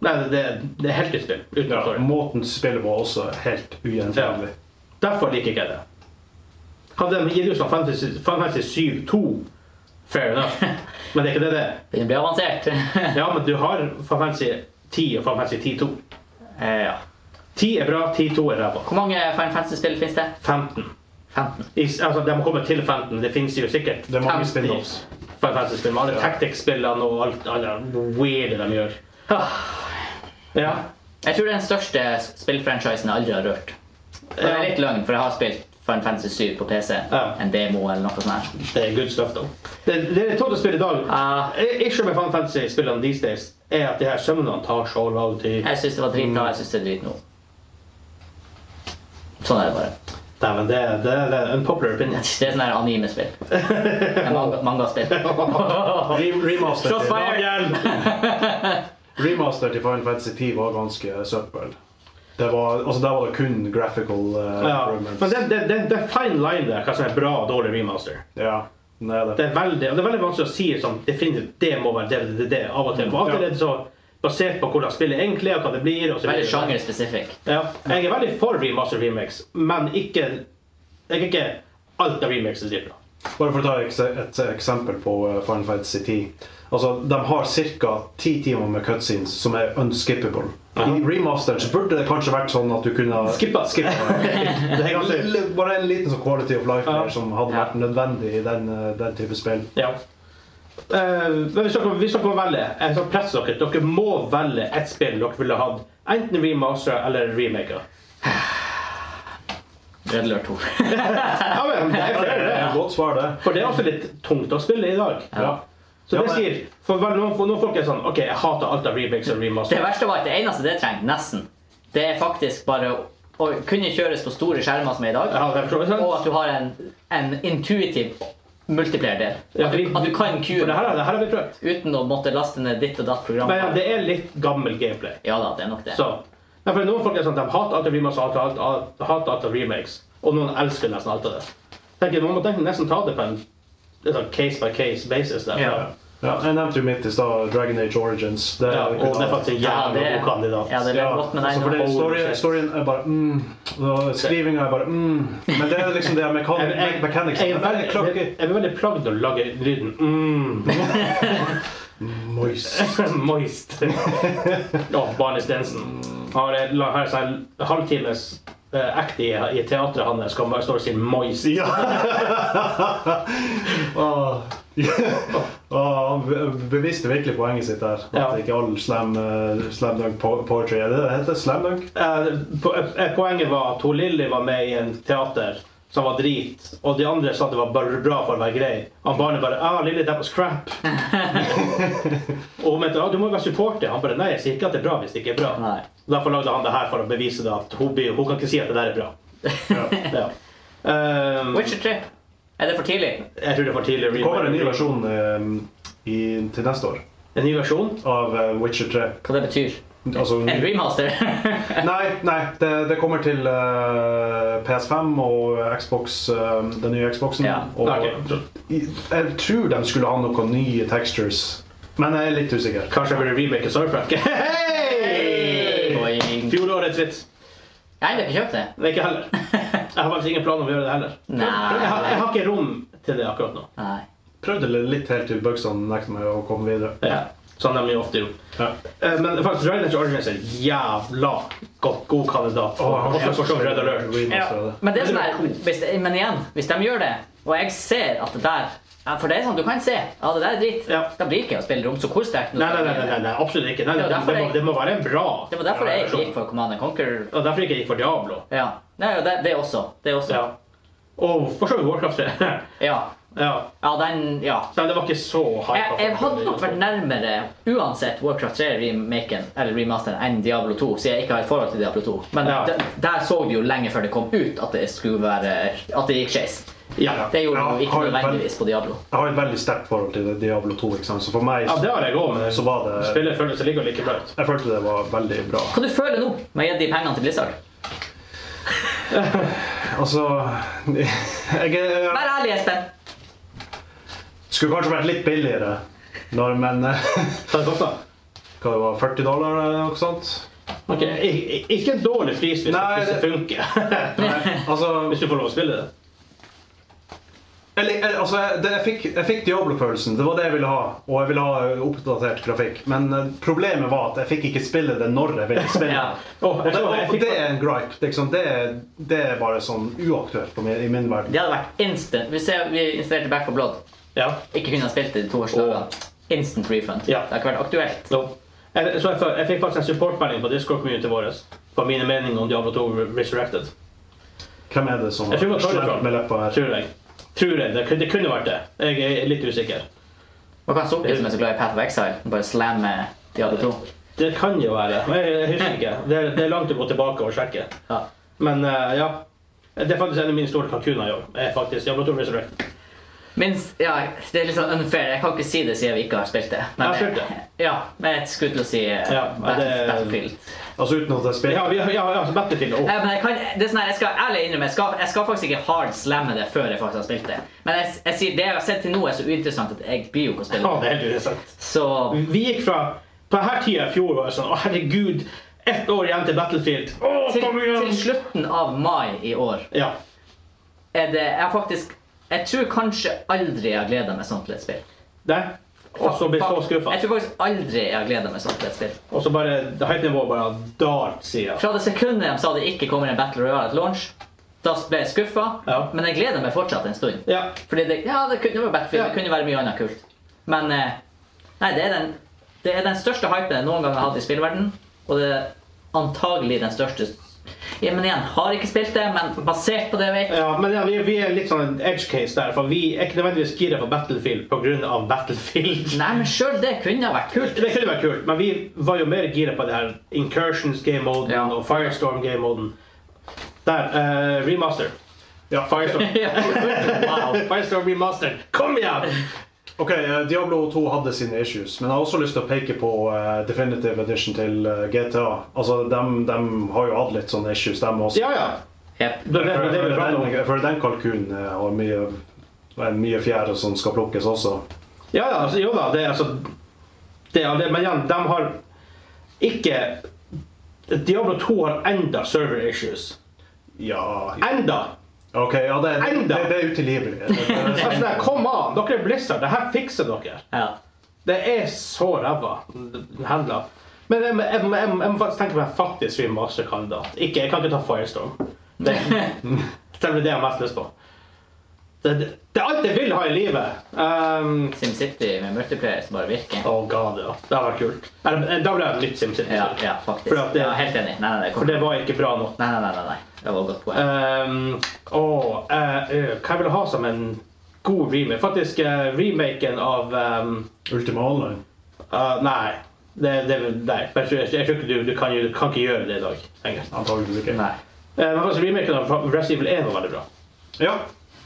Nei, det, er- det er helt nytt spill. Uten
Ja,
story.
måten du spiller på er også helt ugjenkjennelig.
Derfor liker ikke jeg det. Hadde de gitt ut som Final Fantasy- Final Fantasy 7 2, fair enough. Men det er ikke det det er.
Begynner å bli avansert. Eh,
Ja, men du har Final Fantasy 10 og Final Fantasy 10-2.
Eh, ja.
10 er bra, 10-2 er ræva.
Hvor mange Final Fantasy-spill finnes det?
15.
15.
I, altså, de har kommet til 15. Det finnes jo sikkert
Det er mange
50
spin-offs.
Final Fantasy-spill med alle
Ja.
tactics-spillene og alt alle weirde de gjør.
Ah.
Ja.
Jeg tror det er den største spillfranchisen jeg aldri har rørt. Og Det er litt løgn, for jeg har spilt Final Fantasy 7 på PC.
Ja.
En demo eller noe sånt. her.
Det er good stuff, though. Det, det er tått å spille i dag.
Ja.
I- Issue med Final Fantasy-spillene these days er at de her sømnene tar så lang tid.
Jeg syns det var dritbra. Jeg syns det er drit nå. Sånn er det bare.
Dæven, det, det er en popular opinion.
Det er sånn her anime-spill. En Manga, mangaspill.
Re- Remaster
Shots
til
fired!
Remaster til Final Fantasy 10 var ganske eh, søppel. Det var, altså der var det kun graphical eh,
Ja.
improvements.
Men det, det, det, det er fine line der, hva som er bra og dårlig remaster.
Ja, den er det.
Det er veldig, og det er veldig vanskelig å si sånn, definitivt det må være det, det, det, det av og til. For av og til
Ja.
er det så basert på hvordan spillet egentlig er, hva det blir. Og så
Veldig
videre.
sjangerspesifikk.
Ja. Jeg er veldig for remaster remakes, men ikke, jeg er ikke alt av remakes er dritbra.
Bare for å ta ekse- et eksempel på eh, Final Fantasy 10. Altså, de har ca. 10 timer med cutscenes som er unskippable. I remasteren så burde det kanskje vært sånn at du kunne
Skippa.
skippa det.
Det er ganske...
L- Bare en liten sånn quality of life
Ja.
der som hadde vært nødvendig i den, eh, den type spill.
Ja. Eh, men hvis dere, hvis dere må velge, jeg skal presse dere. Dere må velge ett spill dere ville hatt. Enten remaster eller remaker.
Red Alert 2.
Ja, men det er flere, det.
Godt svar, det.
For det er også litt tungt å spille i dag.
Ja.
Så
Ja,
det
men-
sier For vel, noen, noen folk er sånn OK, jeg hater alt av remakes og
Det
remasters.
verste var at det eneste det trenger, nesten, det er faktisk bare å, å kunne kjøres på store skjermer som er i dag,
Ja, det forstår jeg sant.
og at du har en, en intuitiv multiplayer-del.
Ja,
At, du-
fordi-
at du
For
kan
det
kue
her, det her har vi prøvd.
uten å måtte laste ned ditt og datt program.
Men ja, det er litt gammel gameplay.
Ja da, det er nok det.
Så ja, for Noen folk er sånn de hater alt av remakes og hater alt, alt, hater alt av remakes. Og noen elsker nesten alt av det. Tenker, man må tenke nesten ta det på en litt sånn case by case basis. Der.
Ja.
Ja, jeg nevnte jo mitt i stad, Dragon Age Origins. Det,
Ja, og det er faktisk en
Ja,
jævlig
det-
god kandidat.
Ja, det er
Ja,
godt med
altså,
deg
for det,
nå.
noe-
storyen, storyen er bare mm. Skrivinga er bare mm. Men det er liksom det er mekan
Jeg, jeg, jeg,
mechanics.
er veldig, jeg, jeg er veldig plagd av å lage lyden mm,
Moist.
moist. Å, Barnis Densen. Har en la- har en sånn halvtimes eh, act i, i teatret hans kan bare stå og si 'moist'.
Ja. Åh. Åh, han be- beviste virkelig poenget sitt der. At
Ja.
ikke all slam, eh, slam dunk po poetry er det det heter? Slam dunk?
Eh, po- eh, poenget var at hun Lilly var med i en teater som var drit, og de andre sa at det var bare bra for å være grei. Han barnet bare ah, 'Lilly, that was crap'. og hun mente ah, 'du må jo være supporter'. Han bare 'nei, jeg sier ikke at det er bra hvis det ikke er bra'.
Nei.
Derfor lagde han det her for å bevise det at hun, blir- hun kan ikke si at det der er bra.
Ja.
Ja. Ehm,
Witcher 3. Er det for tidlig?
jeg tror det er for tidlig å
Det kommer en ny versjon eh, i, til neste år
En ny versjon?
av eh, Witcher 3.
Hva det betyr?
Altså,
En remaster?
Nei, nei det, det kommer til eh, PS5 og Xbox, eh, den nye Xboxen.
Ja,
Og
Nei, ok. Så
I- jeg tror de skulle ha noen nye textures, men jeg er litt usikker.
Kanskje jeg burde remake Starcraft? Hei!
Boing.
Fjorårets vits.
Nei, det er ikke kjøpt det.
Nei, ikke heller. Jeg har faktisk ingen plan om å gjøre det heller.
Nei.
Jeg har, jeg har ikke rom til det akkurat nå.
Nei.
Prøvde li- litt helt til Bugston nekta meg å komme videre.
Ja. Sånn de jo ofte gjør.
Ja.
Eh, Men faktisk, Dragon Age Origins er en jævla godt, god kandidat.
Åh, jeg har
Også
lyst
for så
til å
vidt Red Alert.
remastera det.
Men, det som er, sånn hvis, men igjen, hvis de gjør det, og jeg ser at det der ja, For det er sånn, du kan se. Ja, det der er dritt.
Ja.
Da blir ikke jeg å spille rom, så hvor sterkt
Nei, nei, nei, nei, nei, absolutt ikke. Nei, det,
Det var derfor
må,
jeg-
det må være en bra
Det var derfor
ja,
jeg
versjon.
gikk for Command Conquer.
Og derfor ikke jeg gikk for Diablo.
Ja. Nei, og det, det også. Det også.
Ja. Og for så vidt Warcraft 3.
Ja.
ja.
Ja, den Ja.
Så det var ikke så hype.
Jeg, jeg hadde nok vært nærmere uansett Warcraft 3-remaken eller remasteren enn Diablo 2, siden jeg ikke har et forhold til Diablo 2. Men
Ja.
der, der så vi jo lenge før det kom ut at det skulle være At det gikk skeis.
Ja.
Det gjorde
Ja,
vi jo ikke
har du-
nødvendigvis på Diablo.
Jeg har et veldig sterkt forhold til Diablo 2, ikke sant? så for meg
ja, det har jeg òg, men
så var det
spillet føles like og like bra ut.
Jeg følte det var veldig bra.
Hva du føler nå med å gi de pengene til Blizzard?
Altså Jeg er
Vær ærlig, Espen.
Skulle kanskje vært litt billigere, når, men eh,
Hva det kosta?
Hva det var 40 dollar eller noe sånt?
Ok, i- i- Ikke en dårlig pris hvis
Nei,
hvis det
det-
funker.
Altså,
hvis du får lov å spille det.
eller, eller, altså jeg- det, jeg fikk, jeg fikk Diablo-følelsen. Det var det jeg ville ha. Og jeg ville ha eh, oppdatert grafikk. Men eh, problemet var at jeg fikk ikke spille det når jeg ville spille.
Ja.
Åh,
Og
jeg
det,
tror jeg
og
fikk
det er en gripe. Liksom, det, er- det er bare sånn uaktuelt på min, i min verden.
Det hadde vært instant. Vi, ser, vi installerte Back for Blood.
Ja.
Ikke kunne ha spilt det de to første dagene. Instant refund.
Ja.
Det har ikke vært aktuelt.
No. Jeg, så jeg, f- jeg fikk faktisk en supportmelding på Discord-communityen vår for mine meninger om Diablo 2 Re- Resurrected.
Hvem er det som
Jeg tror det var
slemt
Torjotron.
med leppa her?
Tror jeg. Tror jeg. Det, kunne- det kunne vært det. Jeg er litt usikker.
Hva kan Sukki, som er så glad i Path of Exile, bare slamme de andre to?
Det kan jo være. Men Jeg husker ikke. Det er, det er langt å gå tilbake og sjekke.
Ja.
Men eh, ja. Det er faktisk en av mine store kalkuner i år. Er faktisk Diablo 2 Resurrect.
Minst, ja, det er litt sånn unfair. Jeg kan ikke si det siden vi ikke har spilt det.
Jeg har spilt det.
Ja, men jeg skulle til å si eh,
Ja, men
Battle-
det-
Battlefield.
Altså uten at jeg spiller.
Ja, vi har, ja, ja altså Battlefield også.
Ja, men jeg, kan, det er sånn her, jeg skal ærlig innrømme, jeg skal, jeg skal faktisk ikke hard slamme det før jeg faktisk har spilt det. Men jeg, jeg sier, det jeg har sett til nå, er så uinteressant at jeg blir jo ikke å spille
Ja, det
det.
er helt uinteressant.
Så
Vi gikk fra På denne tida i fjor var det sånn Å, herregud, ett år igjen til Battlefield. Å,
til,
kom
til
igjen!
slutten av mai i år
Ja.
er det Jeg har faktisk Jeg tror kanskje aldri jeg har gleda meg sånn til et spill.
Det. Og så blir så skuffa.
Jeg tror faktisk aldri jeg har gleda meg sånn til et spill.
Og så bare Hypenivået bare dalt sida.
Fra det sekundet de sa det ikke kommer en Battle Royale at launch, da ble jeg skuffa.
Ja.
Men jeg gleder meg fortsatt en stund.
Ja.
Fordi det, ja, det kunne jo være Battlefield,
Ja.
det kunne jo være mye annet kult. Men eh, nei, det er den, det er den største hypen jeg noen gang har hatt i spillverden, og det er antagelig den største ja, Men igjen, har ikke spilt det, men basert på det jeg vet.
Ja, men ja, vi, vi er litt sånn en edge case der, for vi er ikke nødvendigvis gira på Battlefield pga. Battlefield.
Nei, men sjøl det kunne ha vært kult.
Det kunne vært kult, men vi var jo mer gira på det her Incursions game-moden
Ja.
og Firestorm game-moden. Der. eh, remaster.
Ja,
Firestorm.
Ja. wow.
Firestorm remaster. Kom igjen!
Ok, eh, Diablo 2 hadde sine issues, men jeg har også lyst til å peke på eh, Definitive Edition til eh, GTA. Altså, dem, dem har jo hatt litt sånne issues, dem også.
Ja, ja.
Jep.
Det, det,
For,
det, det,
for,
bra nå.
den, for den kalkunen eh, har mye, eh, mye fjær som skal plukkes også.
Ja, ja, altså, jo da, det er altså det er, det, Men igjen, de har ikke Diablo 2 har enda server issues.
Ja
Enda!
OK, ja, det, det,
Enda!
det, det er utilgivelig. Det- det-
Altså, det, kom an! Dere er Blizzard. Det her fikser dere.
Ja.
Det er så ræva handla. Men jeg, jeg, jeg, jeg må faktisk tenke på en faktisk remasterkandidat. Ikke, jeg kan ikke ta Firestorm. Det, selv om det er det jeg har mest lyst på. Det, det, det er alt jeg vil ha i livet. Um,
SimCity med multiplayer som bare virker.
oh god, ja. Det hadde vært kult. Eller, eh, Da ble det et nytt SimCity.
Ja, ja faktisk.
For at det-
ja, helt enig. Nei, nei, nei,
For
kom.
det var ikke bra nok.
nei, nei, nei, nei, nei. Det var et godt poeng.
Um, og, eh, eh, hva jeg vil ha som en god remake? Faktisk eh, remaken av um,
Ultima Online.
ah, Nei. Det, det, nei. Jeg, tror- jeg tror ikke du, du, kan, jo- du kan ikke gjøre det i dag lenger.
Antakeligvis ikke.
Nei.
Eh, Men faktisk remaken av Resident Evil 1 var veldig bra.
Ja,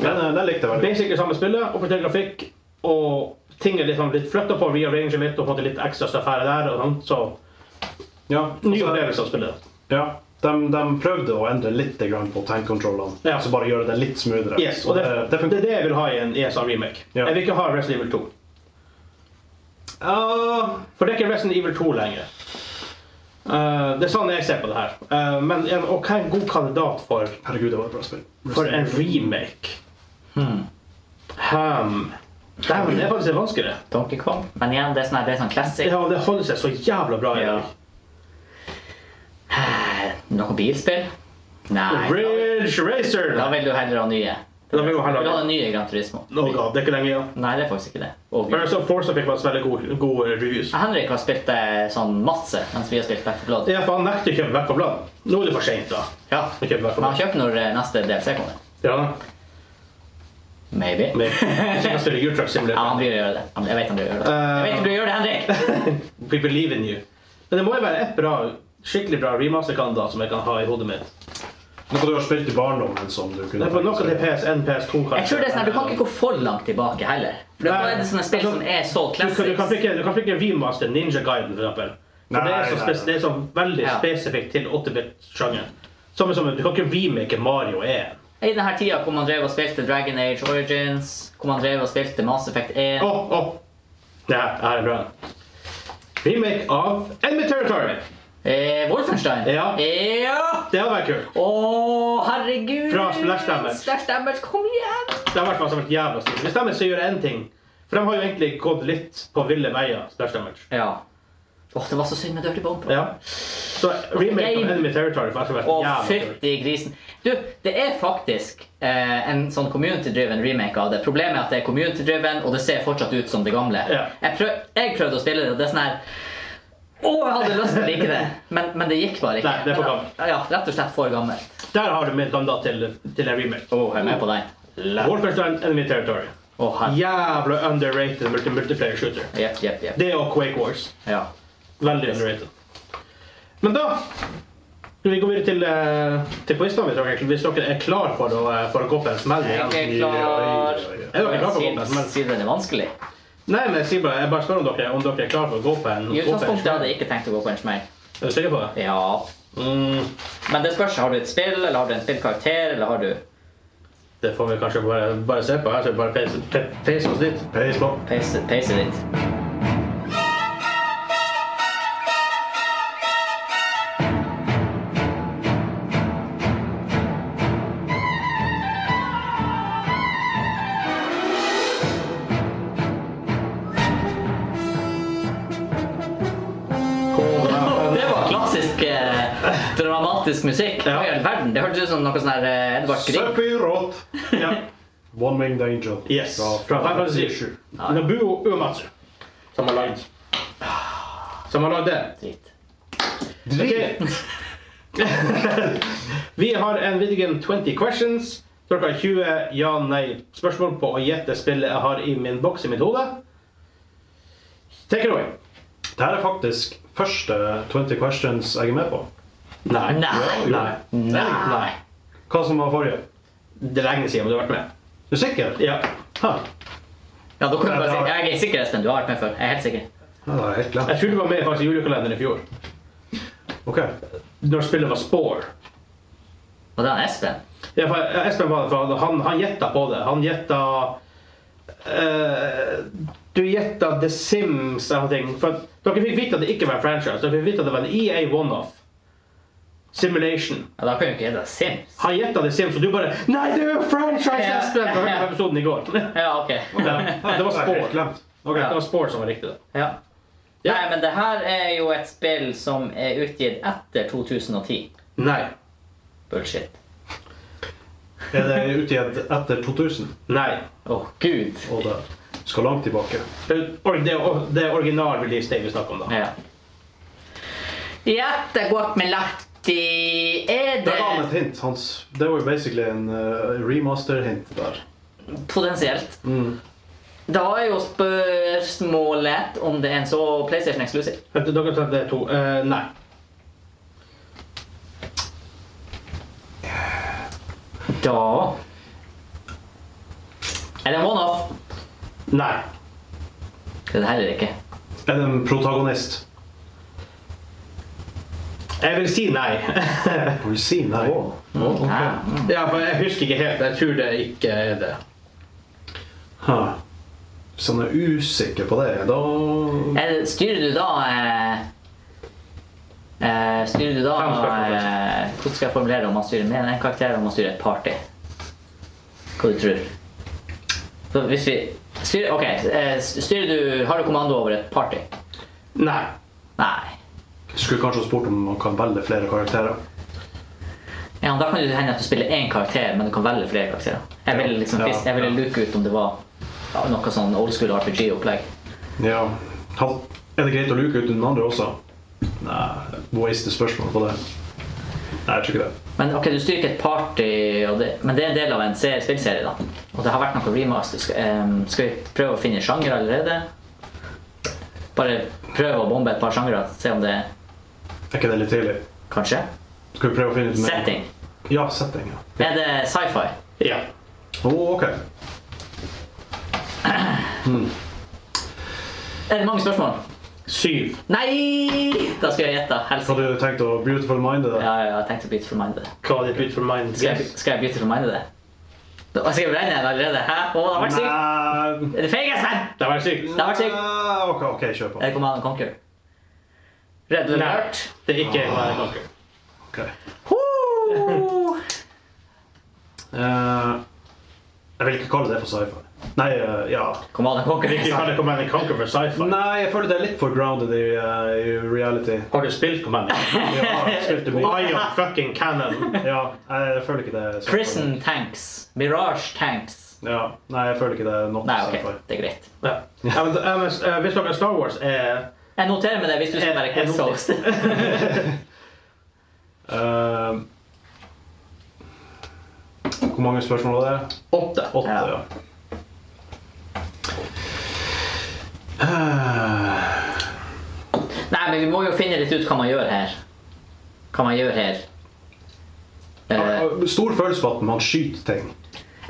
den, eh, den likte jeg veldig.
Basic er samme spillet, oppdatert grafikk, og ting er litt, sånn litt flytta på via ranget mitt og på en måte litt ekstra stuff her og der. Og sånn, så
Ja,
ny
altså,
opplevelse av liksom spillet.
ja. De, de prøvde å endre litt grann på tankkontrollene,
Ja.
så bare gjøre det litt smoothere.
Yes, og det,
Eh, det,
det,
det funker.
er det jeg vil ha i en ESA remake.
Ja.
Jeg vil ikke ha Resident Evil 2.
Ja,
For det er ikke Resident Evil 2 lenger. Eh, det er sånn jeg ser på det her. Eh, men ja, og hva er en god kandidat for,
herregud, det var et bra spill.
for en remake? Hmm. Dæven, det er faktisk litt vanskelig.
Donkey Kong. Men igjen, det er sånn, her, det er sånn classic.
Ja, det holder seg så jævla bra i
Ja.
dag.
Noe bilspill? Nei.
Ridge Racer!
Da vil du heller ha nye.
Da vil vi
Du vil ha
heller-
den nye Gran Turismo.
No god, det er ikke lenge igjen.
Nei, det er faktisk ikke det. Og
Birds of Forza fikk faktisk veldig god, god reviews.
Henrik har spilt det sånn masse mens vi har spilt Back 4 Blood.
Ja, for han nekter å kjøpe Back for Blood. Nå er det for sent, da.
Ja.
Å kjøpe Back for
Men han
Blood.
kjøper når eh, neste DLC kommer.
Ja, da.
Maybe.
Men så kan jeg spille U-Truck
Ja, han
Simulator.
blir å gjøre det. Han- Jeg vet han blir å gjøre det.
Eh.
Jeg vet du blir å gjøre det, Henrik!
We believe in you. Men det må jo være et bra, skikkelig bra remasterkandidat som jeg kan ha i hodet mitt.
Noe du har spilt i barndommen som du kunne
Det er på noe til PS1, PS2 kanskje.
Jeg tror det er sånn at Du kan ikke gå for langt tilbake heller. For da
Nei. Altså,
er det sånne spill som er så
Du kan, du kan
classics.
ikke, du kan ikke remaster Ninja Guiden, for eksempel. For
Nei,
det, er så
nei,
spes-
nei.
det er så veldig
Ja.
spesifikt til 8-bit-sjangeren. Samme som du kan ikke remake Mario 1.
I denne tida hvor man drev og spilte Dragon Age Origins, hvor man drev og spilte Mass Effect 1
Åh, åh. Det her det her er bra. Remake av Enemy Territory.
eh, Wolfenstein.
Ja.
ja.
Det hadde vært kult.
Å, herregud!
Fra Splash Damage.
Splash Damage, kom igjen!
Det hadde vært vært jævla stilig. Hvis de ikke gjør én ting For de har jo egentlig gått litt på ville veier, Splash Damage.
Ja. Åh, det var så synd med Dirty Bomb.
Ja. Så remake av
Game.
Enemy Territory hadde vært
Å,
jævla kult.
fytti grisen. Du, det er faktisk eh, en sånn community-driven remake av det. Problemet er at det er community-driven, og det ser fortsatt ut som det gamle.
Ja.
Jeg, prøv, jeg prøvde å spille det, og det er sånn her Å, jeg hadde lyst til å like det, men, men det gikk bare ikke.
Nei, det er for
Men, Ja, rett og slett for gammelt.
Der har du min kandidat til, til en remake.
Åh, jeg er med på den. La-
Wolfenstein Enemy Territory.
Åh, her.
Jævla underrated multi multiplayer shooter.
Jepp, jepp, jepp.
Det og Quake Wars.
Ja.
Veldig underrated. Men da skal vi gå videre til, eh, til quizene, hvis dere- hvis dere er klar for å, eh, for å gå på en smell igjen.
Jeg er klar.
Er dere klar for å gå på en
Siden-
smell?
Siden den er vanskelig.
Nei, men jeg, sier bare, jeg bare spør om dere, om dere er klar for å gå på en gå
I
på en
utgangspunktet hadde
smell.
jeg ikke tenkt å gå på en smell.
Er du sikker på det?
Ja.
Mm,
Men det spørs. Har du et spill, eller har du en spillkarakter, eller har du
det får vi kanskje bare, bare se på. Her så vi bare peise- pe- peise oss dit.
Peis på.
pacet pacet ditt? Det var klassisk eh, dramatisk musikk.
Ja.
Hva i all verden? Det hørtes ut som noe sånn her eh, Edvard Grieg.
Sephiroth.
Ja.
One Winged Angel.
Yes.
Fra
Fra Final Fantasy 7. Nobuo Uematsu. Som har lagd Som har lagd det.
Drit.
Ok. Vi har en videogame 20 questions. Dere har 20 ja-nei-spørsmål på å gjette spillet jeg har i min boks i mitt hode. Take it away.
Dette er faktisk første 20 questions jeg er med på.
Nei.
Nei.
Nei.
Nei.
Nei.
Hva som var forrige?
Det er lenge siden du har vært med.
Du er sikker?
Ja.
Hæ?
Ja, da kan du
Nei,
bare
det
si
har-
Jeg er sikker, Espen. Du har vært med før. Jeg er helt sikker.
Ja, det er helt glemt.
Jeg tror du var med faktisk i julekalenderen i fjor.
Ok.
Når spillet var Spore.
Og det er Espen.
Ja, for Espen var det, for han, han gjetta på det. Han gjetta eh, Du gjetta The Sims eller noe. ting. For at dere fikk vite at det ikke var en franchise. Dere fikk vite at det var en EA one-off. Simulation.
Ja, da kan du ikke hete Sims.
Han gjetta The Sims, og du bare Nei, det er jo en franchise,
Ja.
Espen! Du hørte på episoden i går.
Ja, ok.
Ja, det var
Det er helt
Spore.
glemt. Ok.
Det var Spore som var riktig. da.
Ja. Nei, men det her er jo et spill som er utgitt etter 2010.
Nei.
Bullshit.
Er det utgitt etter 2000?
Nei.
Å, gud.
Og det skal langt tilbake.
Det er- det er- det er original release day vi snakker om, da.
Ja. Jättegott med Lahti. Er
Der ga han et
det
hint. Hans. Det var jo basically en eh, remaster-hint der.
potensielt?
Mm.
Da er jo spørsmålet om det er en så PlayStation Exclusive.
Vent, Dere tar det to. Eh, nei.
Da Er det en one-off?
Nei.
Det er det heller ikke.
Er det en protagonist?
Jeg vil si nei.
Får vi si nei?
Ja. Mm.
Ja, for jeg husker ikke helt. Jeg tror det ikke er det.
Hæ. Hvis han er usikker på det, da
Er det- Styrer du da eh, eh, Styrer du da
Fem spørsmål.
eh, Hvordan skal jeg formulere det om man styrer med en karakter eller om man styrer et party? Hva du tror Så hvis vi styrer, Ok, eh, styrer du Har du kommando over et party?
Nei.
Nei.
Skulle kanskje ha spurt om man kan velge flere karakterer.
Ja, da kan det hende at du spiller én karakter, men du kan velge flere karakterer. Jeg ville liksom
Ja,
fisk- jeg ville
ja.
luke ut om det var ja, noe sånn old school RPG-opplegg.
Ja. Han- Er det greit å luke ut den andre også? Nei, waste spørsmål på det. Nei, jeg tror ikke det.
Men ok, du styrer ikke et party, og det, men det er en del av en serie, spillserie. da. Og det har vært noe remaster. Skal, ehm, skal vi prøve å finne sjanger allerede? Bare prøve å bombe et par sjangere, se om det
Er ikke det litt tidlig?
Kanskje?
Skal vi prøve å finne ut mer?
Setting.
Ja, setting. ja.
Er det sci-fi?
Ja.
Å, ok.
Er det mange spørsmål?
Syv.
Nei! Da skal jeg gjette. Helse.
Hadde du tenkt å beautiful minde det?
Ja, ja, jeg tenkte Beautiful Minded.
Hva er ditt ut for mind?
Skal jeg, skal jeg Beautiful Minded det? Da- Skal jeg brenne den allerede? Hæ? Å, det har vært sykt!
Nei.
Er det feig, Espen?
Det var sykt.
Det har vært sykt.
Nei, Ok, ok, kjør
Er
på.
det Command and Conquer? Red Dead
Nei.
Alert?
Det er ikke Command Conquer.
Ok.
Ho!
Eh, jeg vil ikke kalle det for sci-fi. Nei, eh, ja.
Command and Conquer.
Ikke kaller Command Conquer for sci-fi.
Nei, jeg føler det er litt for grounded i, eh, i reality.
Har du spilt Command Conquer?
Vi har spilt det mye.
I am fucking cannon.
Ja, jeg føler ikke det er sci-fi.
Prison tanks. Mirage tanks.
Ja, nei, jeg føler ikke det er nok
Nei, ok,
sci-fi.
det er greit.
Ja. Ja, men, eh, men, eh, Hvis dere er Star Wars er
Jeg noterer med det hvis du skal være
Jeg- jeg
quiz-host.
Eh, Hvor mange spørsmål var det?
Åtte.
Åtte,
Ja.
ja. Eh,
Nei, men vi må jo finne litt ut hva man gjør her. Hva man gjør her. Eh,
Stor følelse på at man skyter ting.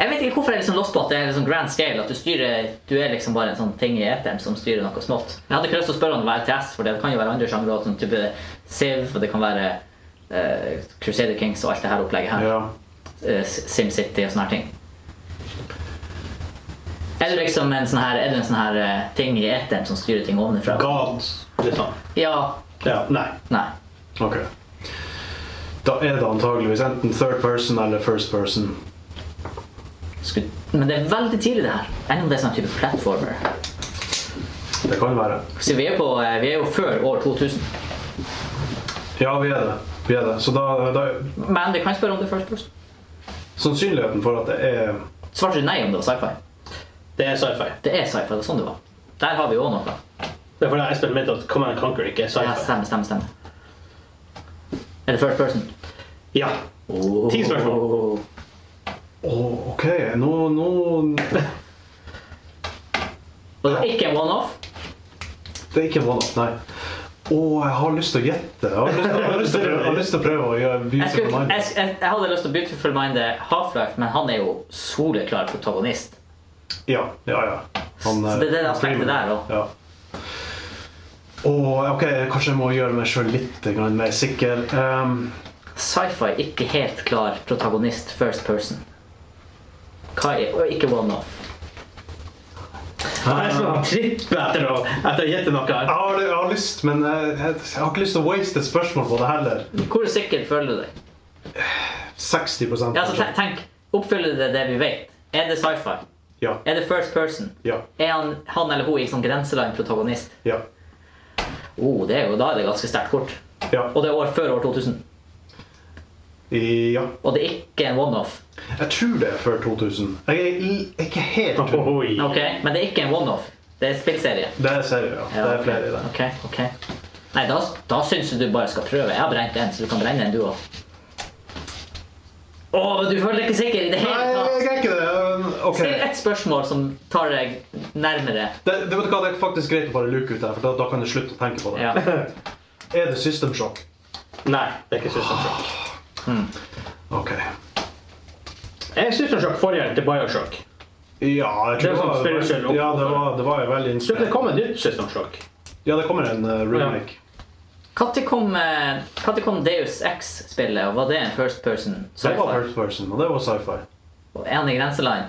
jeg vet ikke hvorfor jeg er liksom lost på at det er liksom grand scale. At du styrer Du er liksom bare en sånn ting i eteren som styrer noe smått. Jeg hadde ikke lyst til å spørre om det var RTS, for det kan jo være andre sjangre også, sånn type Siv, og det kan være eh, Crusader Kings og alt det her opplegget her.
Ja.
eh, SimCity og sånne her ting. Er du liksom en sånn her, er du en sånn her eh, ting i eteren som styrer ting ovenfra?
God, liksom.
Ja.
Ja, nei.
Nei.
Ok. Da er det antageligvis enten third person eller first person.
Skulle, men det er veldig tidlig, det her. Enn om det er sånn type platformer.
Det kan være.
Så vi er, på, eh, vi er jo før år 2000.
Ja, vi er det. Vi er det. Så da, da
Men det kan spørre om det først. først.
Sannsynligheten for at det er
Svarte du nei om det var sci-fi?
Det er sci-fi.
Det er sci-fi. det er sånn det var. Der har vi jo òg noe.
Det er fordi Espen mente at Command and Conquer ikke er
Ja,
sci-fi.
stemmer, stemmer, stemmer. Er det first person?
Ja. Ti spørsmål.
Å, OK, nå, nå
Og det var ikke en one-off?
Det er ikke one off, nei. Å, jeg har lyst til å gjette. Jeg har lyst, jeg har lyst, til, å prøve- jeg har lyst til å prøve å
Jeg,
gjøre
skulle,
beautiful
jeg,
mind.
jeg, jeg hadde lyst til å beautiful minde Half-Life, men han er jo soleklar protagonist.
Ja, ja, ja. Han,
Så det er det
eh,
aspektet der også.
Ja. Å, OK, kanskje jeg må gjøre meg sjøl litt grann mer sikker. Ehm,
Sci-fi ikke helt klar protagonist first person. Hva er og ikke one-off?
Han er
Ah.
sånn trippel etter å etter å gjette noe.
jeg,
her.
har, jeg har lyst, men eh, jeg, jeg har ikke lyst til å waste et spørsmål på det heller.
Hvor sikker føler du deg?
60
Ja, altså, te-
kanskje.
tenk, Oppfyller det det vi vet? Er det sci-fi?
Ja.
Er det first person?
Ja.
Er han, han eller hun i sånn grenseland protagonist?
Ja.
Oh, det er jo, da er det ganske sterkt kort.
Ja.
Og det er år før år 2000.
ja.
Og det er ikke en one-off.
Jeg tror det er før 2000. Jeg er i- ikke helt
Ohohoi.
Ok, Men det er ikke en one-off. Det er en spillserie.
Det er seriøst. Ja. Det er flere i det.
Ok, ok. Nei, da, da syns jeg du bare skal prøve. Jeg har brent en, så du kan brenne en du òg. Å, men du føler deg ikke sikker i det
Nei,
hele
jeg
tatt?
er ikke det. Um, Ok.
Still ett spørsmål som tar deg nærmere.
Det, det, vet du hva, det er faktisk greit å bare luke ut det, her, for da, da kan du slutte å tenke på det.
Ja.
Er det system shock?
Nei, det er ikke System Shock.
Ok.
Jeg er System Shock forgjengeren til Bioshock.
Ja, jeg tror
Det er sånn
var-
spiritual-
Ja, det var, det var jo
Så
veldig
det
inspirerende.
kom et nytt System Shock.
Ja, det kommer en eh, remake.
Når kom, eh, når kom Deus X-spillet, og var det en first person?
Det var
sci-fi?
first person, og det var sci-fi.
Og Er han i grenseland?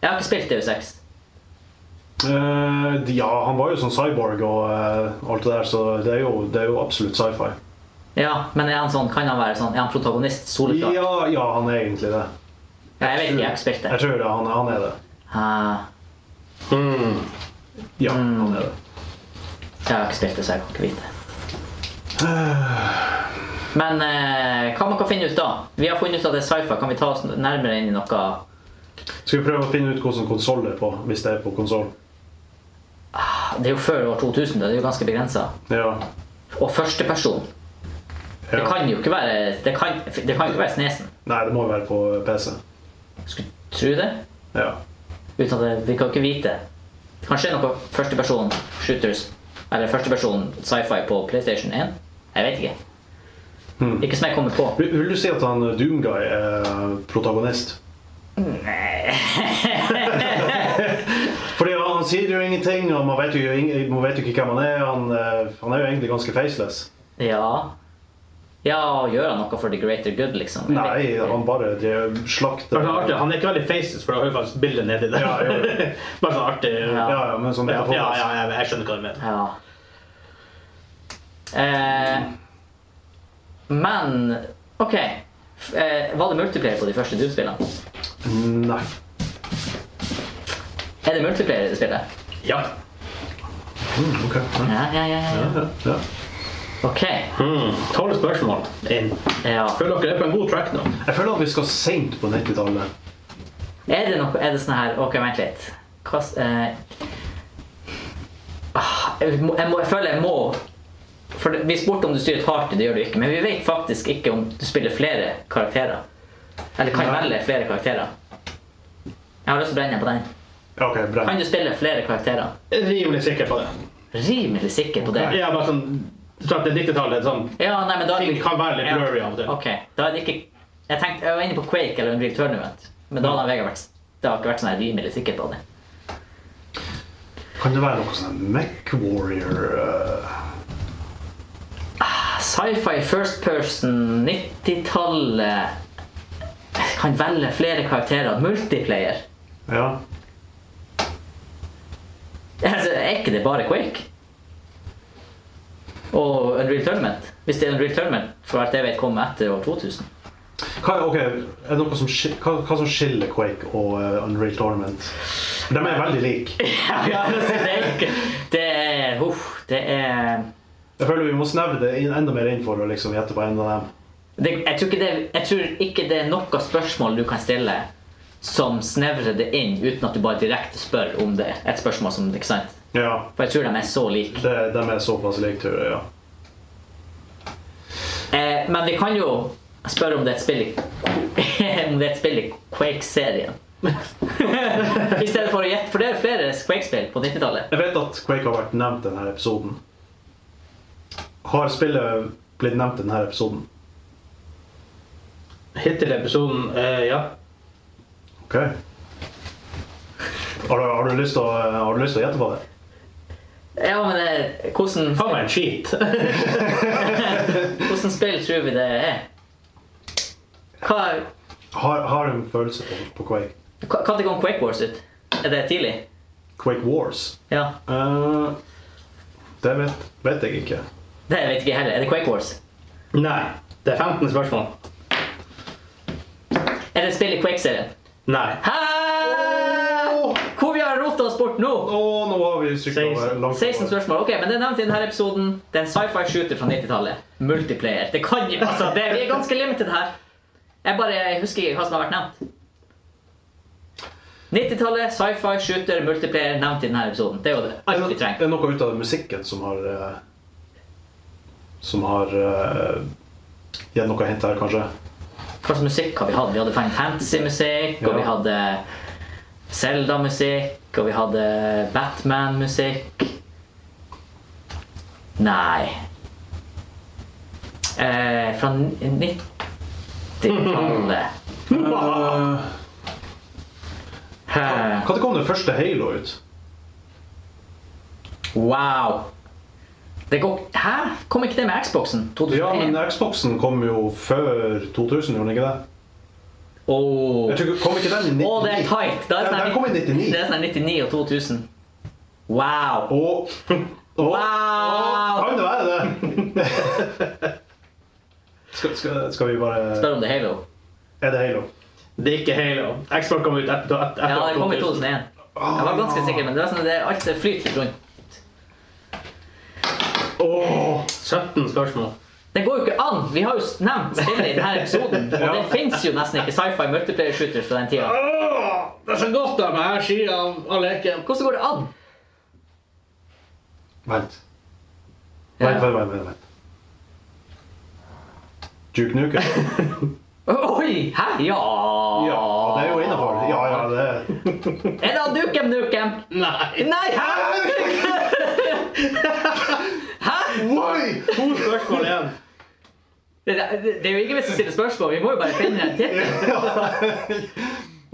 Jeg har ikke spilt Deus X.
Eh, de- ja, han var jo sånn cyborg og eh, alt det der, så det er jo, det er jo absolutt sci-fi.
Ja, men er han sånn, kan han være sånn? Er han protagonist? Soleklar?
Ja, ja, han er egentlig det.
Ja, jeg vet ikke, jeg har ikke spilt
Jeg
det.
tror det, han, han er det.
Ah,
Ja,
Mm.
han er det.
jeg har ikke spilt det, så jeg kan ikke vite. Men eh, hva man kan finne ut da? Vi har funnet ut at det er sci-fi. Kan vi ta oss nærmere inn i noe
Skal vi prøve å finne ut hvordan konsoll det er på, hvis det er på konsoll?
Det er jo før år 2000, det er jo ganske begrensa.
Ja.
Og førsteperson. Det
ja.
kan jo ikke være Det kan, det kan jo ikke være Snesen.
Nei, det må jo være på PC.
Skulle tro det.
Ja.
Uten at det, vi kan ikke vite. Kanskje det er noe førsteperson shooters Eller førsteperson sci-fi på PlayStation 1? Jeg vet ikke. Ikke som jeg kommer på.
Vil- Vil du si at han eh, Doomguy er protagonist? Fordi han, han sier jo ingenting, og man vet jo, ing- man vet jo ikke hvem han er. Han, eh, han er jo egentlig ganske faceless.
Ja Ja, gjør han noe for the greater good, liksom? Jeg vet
Nei,
ikke.
han bare drev-
Bare
slakter
sånn artig, Han er ikke veldig faces, for du har jo faktisk bildet nedi der.
Ja, jo, jo.
Bare sånn artig.
Ja.
Ja,
Ja, ja, men sånn
ja,
metaforisk.
ja, jeg, jeg skjønner hva du mener.
Ja. Eh, men OK. F- Eh, var det multiplayer på de første Doom-spillene?
Nei.
Er det multiplayer i det spillet?
Ja.
Mm, ok. Ja,
Ja, ja, ja. ja.
ja, ja.
OK.
Tolv Hmm, spørsmål inn.
Ja.
Føler dere er på en god track nå?
Jeg føler at vi skal seint på 90-tallet.
Er det noe Er det sånn her OK, vent litt. Hva s- eh, ah, jeg, må, jeg, må, jeg føler jeg må For det- Vi spurte om du styrer et hardt, det gjør du ikke. Men vi vet faktisk ikke om du spiller flere karakterer. Eller kan
Nei.
velge flere karakterer. Jeg har lyst til å brenne på den.
Ja, OK, bra.
Kan du spille flere karakterer?
Rimelig sikker på det.
Rimelig sikker på det.
Ok.
Ja, bare sånn, jeg tror at det er 90-tallet. Sånn,
Ja, nei, men da...
ting kan være litt
Ja.
blurry av og til.
Ok, da er det ikke... Jeg tenkte, jeg var inne på Quake eller Unreal Tournament. Men da hadde Vegard vært... Da har jeg ikke vært sånn her rimelig sikker på det.
Kan det være noe sånn MechWarrior uh,
Sci-fi first person, 90-tallet... Jeg Kan velge flere karakterer. Multiplayer.
Ja.
Altså, er ikke det bare Quake? Og Unreal Tournament? Hvis det er Unreal Tournament, for alt jeg vet, kom etter år 2000.
Hva, ok, er det noe som, skil- hva, hva som skiller Quake og eh, Unreal Tournament? De er veldig like.
ja, altså, det er ikke... Det er... Uff, det er...
Jeg føler vi må snevre det inn- enda mer inn for å liksom gjette på en av dem.
Det, jeg, tror ikke det, jeg tror ikke det er noe spørsmål du kan stille som snevrer det inn, uten at du bare direkte spør om det. Et spørsmål som, ikke sant?
Ja,
For jeg tror de er så like.
det, de er såpass like, tror jeg. ja.
Eh, men vi kan jo spørre om det er et spill i, om det er et spill i Quake-serien. I stedet for å gjette, for det er flere Quake-spill på 90-tallet.
Jeg vet at Quake har vært nevnt i denne episoden. Har spillet blitt nevnt i denne episoden?
Hittil i episoden, eh, ja.
Ok. Har du, har du lyst til å eh, har du lyst til å gjette på det?
Ja, men eh, hvordan,
Faen meg en cheat.
hvordan spill tror vi det er? Hva,
Har, har en følelse på, på Quake.
hva, hva kom Quake Wars ut? Er det tidlig?
Quake Wars?
Ja.
Eh, det vet, vet jeg ikke.
Det vet ikke jeg heller. Er det Quake Wars?
Nei. Det er 15 spørsmål.
Er det et spill i Quake-serien?
Nei.
Hæ? Hvor vi har rota oss bort nå?
Å, nå har vi sykla
16.
langt.
16 spørsmål. Ok, men Det er nevnt i denne episoden. Det er en sci-fi shooter fra 90-tallet. Multiplayer. Det kan jo, altså, det, Vi er ganske limited her. Jeg bare jeg husker ikke hva som har vært nevnt. 90-tallet, sci-fi, shooter, multiplayer nevnt i denne episoden. Det er jo det.
Er
alt vi
det- Er
trenger.
det noe ut av musikken som har eh, Som har eh, gitt noe hint her, kanskje?
Hva slags musikk har vi hatt? Vi hadde Final Fantasy-musikk, og
Ja.
vi hadde Zelda-musikk, og vi hadde Batman-musikk. Nei eh, Fra ni- 90-tallet
Uh,
Hæ?
Når kom det første Halo ut?
Wow! Det går Hæ? Kom ikke det med Xboxen? 2001?
Ja, men Xboxen kom jo før 2000, gjorde den ikke det?
Åh.
Jeg tror, ikke- kom ikke den i 99?
Å, det er tight! Da er
Ja,
sånn her
den kom i 99.
Det er sånn her 99 og 2000. Wow!
Og, og,
Wow!
Kan det være det? skal, skal, skal vi bare
Spør om det er Halo.
Er det Halo?
Det er ikke Halo. Xbox kom ut etter, etter
Ja, det kom i
2000.
2001. Jeg var ganske sikker, men det var sånn at det, alt det flyter litt rundt.
Åh,
17 spørsmål.
Det går jo ikke an! Vi har jo s- nevnt spillet i denne episoden, og det fins jo nesten ikke sci-fi multiplayer shooters fra den tida.
det er så godt av meg her, sida av all leken.
Hvordan går det an?
Vent.
Ja.
Vent, vent, vent. vent, vent. Duke Nukem?
Oi! Hæ? Ja!
Ja, det er jo innafor. Ja, ja, det
Er det han Dukem Nukem?
Mm.
Nei.
Nei, hæ? hæ?
Oi!
To spørsmål igjen.
Det, det, det er jo ingen vits å stille spørsmål, vi må jo bare finne en tittel.
Dere,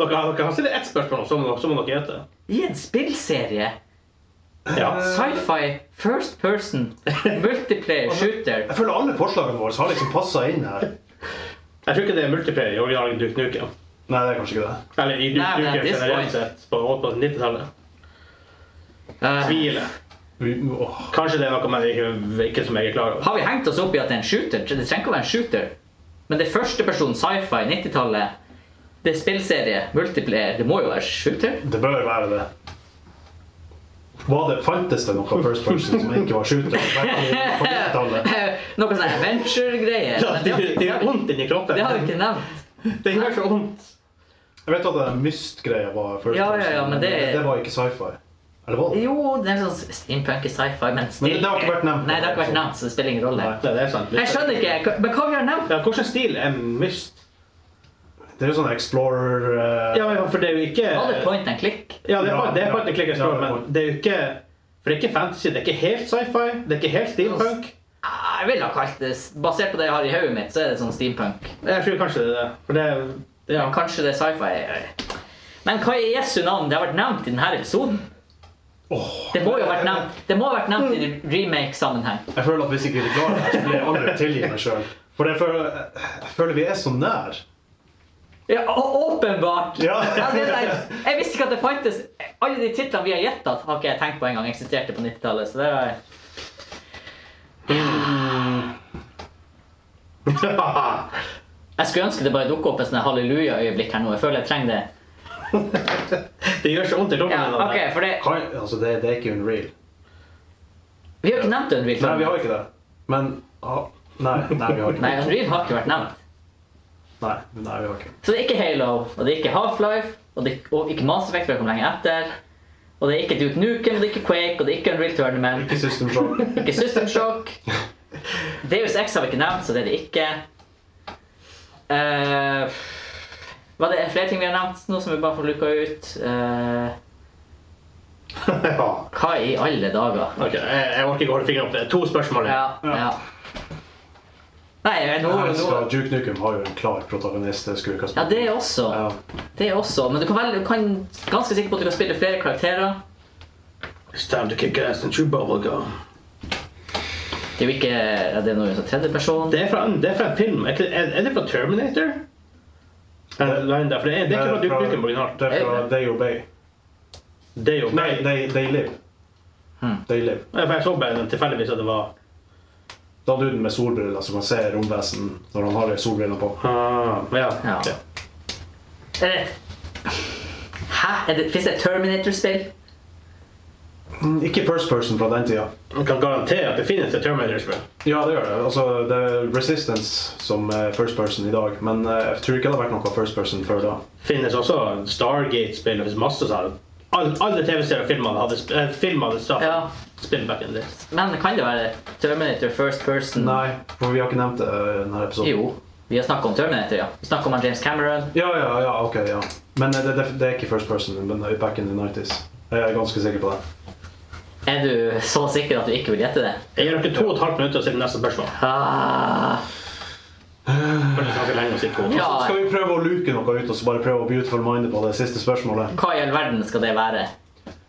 dere kan stille ett spørsmål, så må dere, så må dere gjette.
I en spillserie?
Ja.
Sci-fi, first person, multiplayer shooter.
Jeg føler alle forslagene våre har liksom passa inn her.
Jeg tror ikke det er multiplayer i originalen Duke Nukem.
Nei, det er kanskje ikke det.
Eller i Duke
Nei, men
Nukem
this
generelt
point.
sett på 90-tallet.
Eh,
Tviler.
Vi, åh.
Kanskje det er noe man ikke, ikke som jeg er klar over.
Har vi hengt oss opp i at det er en shooter? Det trenger ikke å være en shooter. Men det er førsteperson sci-fi 90-tallet. Det er spillserie, multiplayer. Det må jo være shooter.
Det bør være det. Var det, fantes det noe first person som ikke var shooter? På 90-tallet?
Noe sånn adventure-greier.
Ja,
Men
det,
det
det gjør
har vi ikke nevnt.
vondt inni kroppen.
Det har vi ikke nevnt.
Det gjør så vondt.
Jeg vet at den Myst-greia var first
Ja, ja,
person,
ja, men det-
det var ikke sci-fi. Eller var det?
Jo, det er sånn steampunk i sci-fi, men
Men det har ikke vært nevnt.
Nei, det har ikke vært nevnt, så det spiller ingen rolle.
Nei.
Nei, det er sant.
Jeg skjønner ikke. hva- Men hva vi har nevnt?
Ja, Hvilken stil er Myst?
Det er jo sånn Explorer eh,
Ja, men for det er jo ikke
Var det point and click?
Ja, det er,
Ja,
point- det er
ja.
point and click
Ja,
explorer,
det er
men
point.
det er jo ikke For det er ikke fantasy, det er ikke helt sci-fi, det er ikke helt steampunk.
Ah, Jeg ville ha kalt det Basert på det jeg har i hodet mitt, så er det sånn steampunk.
Jeg tror kanskje det er det. For det er ja.
Men Kanskje det er sci-fi. jeg vet. Men hva i Jesu navn det har vært nevnt i denne episoden?
åh,
Det må jo ha vært nevnt, det må ha vært nevnt i remake-sammenheng.
Jeg føler at hvis ikke vi klarer det, her, så blir jeg aldri å tilgi meg sjøl. For jeg føler, jeg føler vi er så nær.
Ja, å- åpenbart!
Ja.
det er det. jeg visste ikke at det fantes Alle de titlene vi har gjetta, har ikke jeg tenkt på engang eksisterte på 90-tallet. Så det var Jeg skulle ønske det bare dukket opp et sånt halleluja-øyeblikk her nå. Jeg føler jeg trenger det.
det gjør så vondt i lommen.
Ja,
den der.
ok, for det...
Kan, altså, det, det er ikke Unreal.
Vi har jo ikke nevnt Unreal.
Nei, vi har ikke det. Men ah, Nei, nei, vi har ikke
Nei,
det.
Unreal har ikke vært nevnt.
Nei, nei, vi har ikke det.
Så det er ikke Halo, og det er ikke Half-Life, og, det- og ikke Mass Effect, for det kom lenge etter. Og det er ikke Duke Nukem, og det er ikke Quake, og det er ikke Unreal Tournament.
Ikke System Shock.
Ikke System Shock. Deus X har vi ikke nevnt, så det er det ikke. Eh, var det flere ting vi har nevnt nå som vi bare får luka ut? Eh,
ja.
hva i alle dager?
Ok, jeg, jeg orker ikke holde fingeren opp. Det er to spørsmål igjen.
Ja, ja. Nei, nå,
Jeg elsker
nå
at Duke Nukem har jo en klar protagonist. Det skulle vi ikke
Ja,
ha spurt.
det er også.
Ja.
Det er også, men du kan, vel, du kan ganske sikker på at du kan spille flere karakterer.
It's time to kick ass and chew bubblegum.
Det er jo ikke ja, det er noe som tredje person.
Det er fra, en- det er fra en film. Er, ikke- er, er det fra Terminator? Er det, line der? for det, er, det er ikke fra Duke Nukem originalt.
Det er fra
Egentlig.
They Obey.
Det er jo
Nei, They, they Live.
Hmm.
They Live.
Ja, for Jeg så bare den tilfeldigvis at det var
Da duden med solbriller som kan se romvesen når han har de solbrillene på.
ah, ja.
Ja.
ok.
Er det, hæ? Er det, finnes det et Terminator-spill?
Mm, Ikke first person fra den tida.
Man kan garantere at det finnes et Terminator-spill.
Ja, det gjør det. Altså, det er Resistance som er first person i dag, men eh, jeg tror ikke det har vært noe first person før da.
finnes også Stargate-spill og det finnes masse sånn. Alle, alle TV-serier og filmer hadde, sp- eh, film hadde straff.
Ja.
Spill back in the days.
Men kan det være Terminator first person?
Nei, for vi har ikke nevnt det eh, i denne episoden.
Jo. Vi har snakket om Terminator, ja. Vi snakket om han James Cameron.
Ja, ja, ja, ok, ja. Men eh, det, det, det er ikke first person, men det er back in the 90s. Jeg er ganske sikker på det.
Er du så sikker at du ikke vil gjette det?
Jeg gir dere to og et halvt minutter til neste spørsmål.
Ah,
For det er ganske lenge å si to.
Ja.
Skal vi prøve å luke noe ut og så bare prøve å beautiful minde på det siste spørsmålet?
hva i all verden skal det være?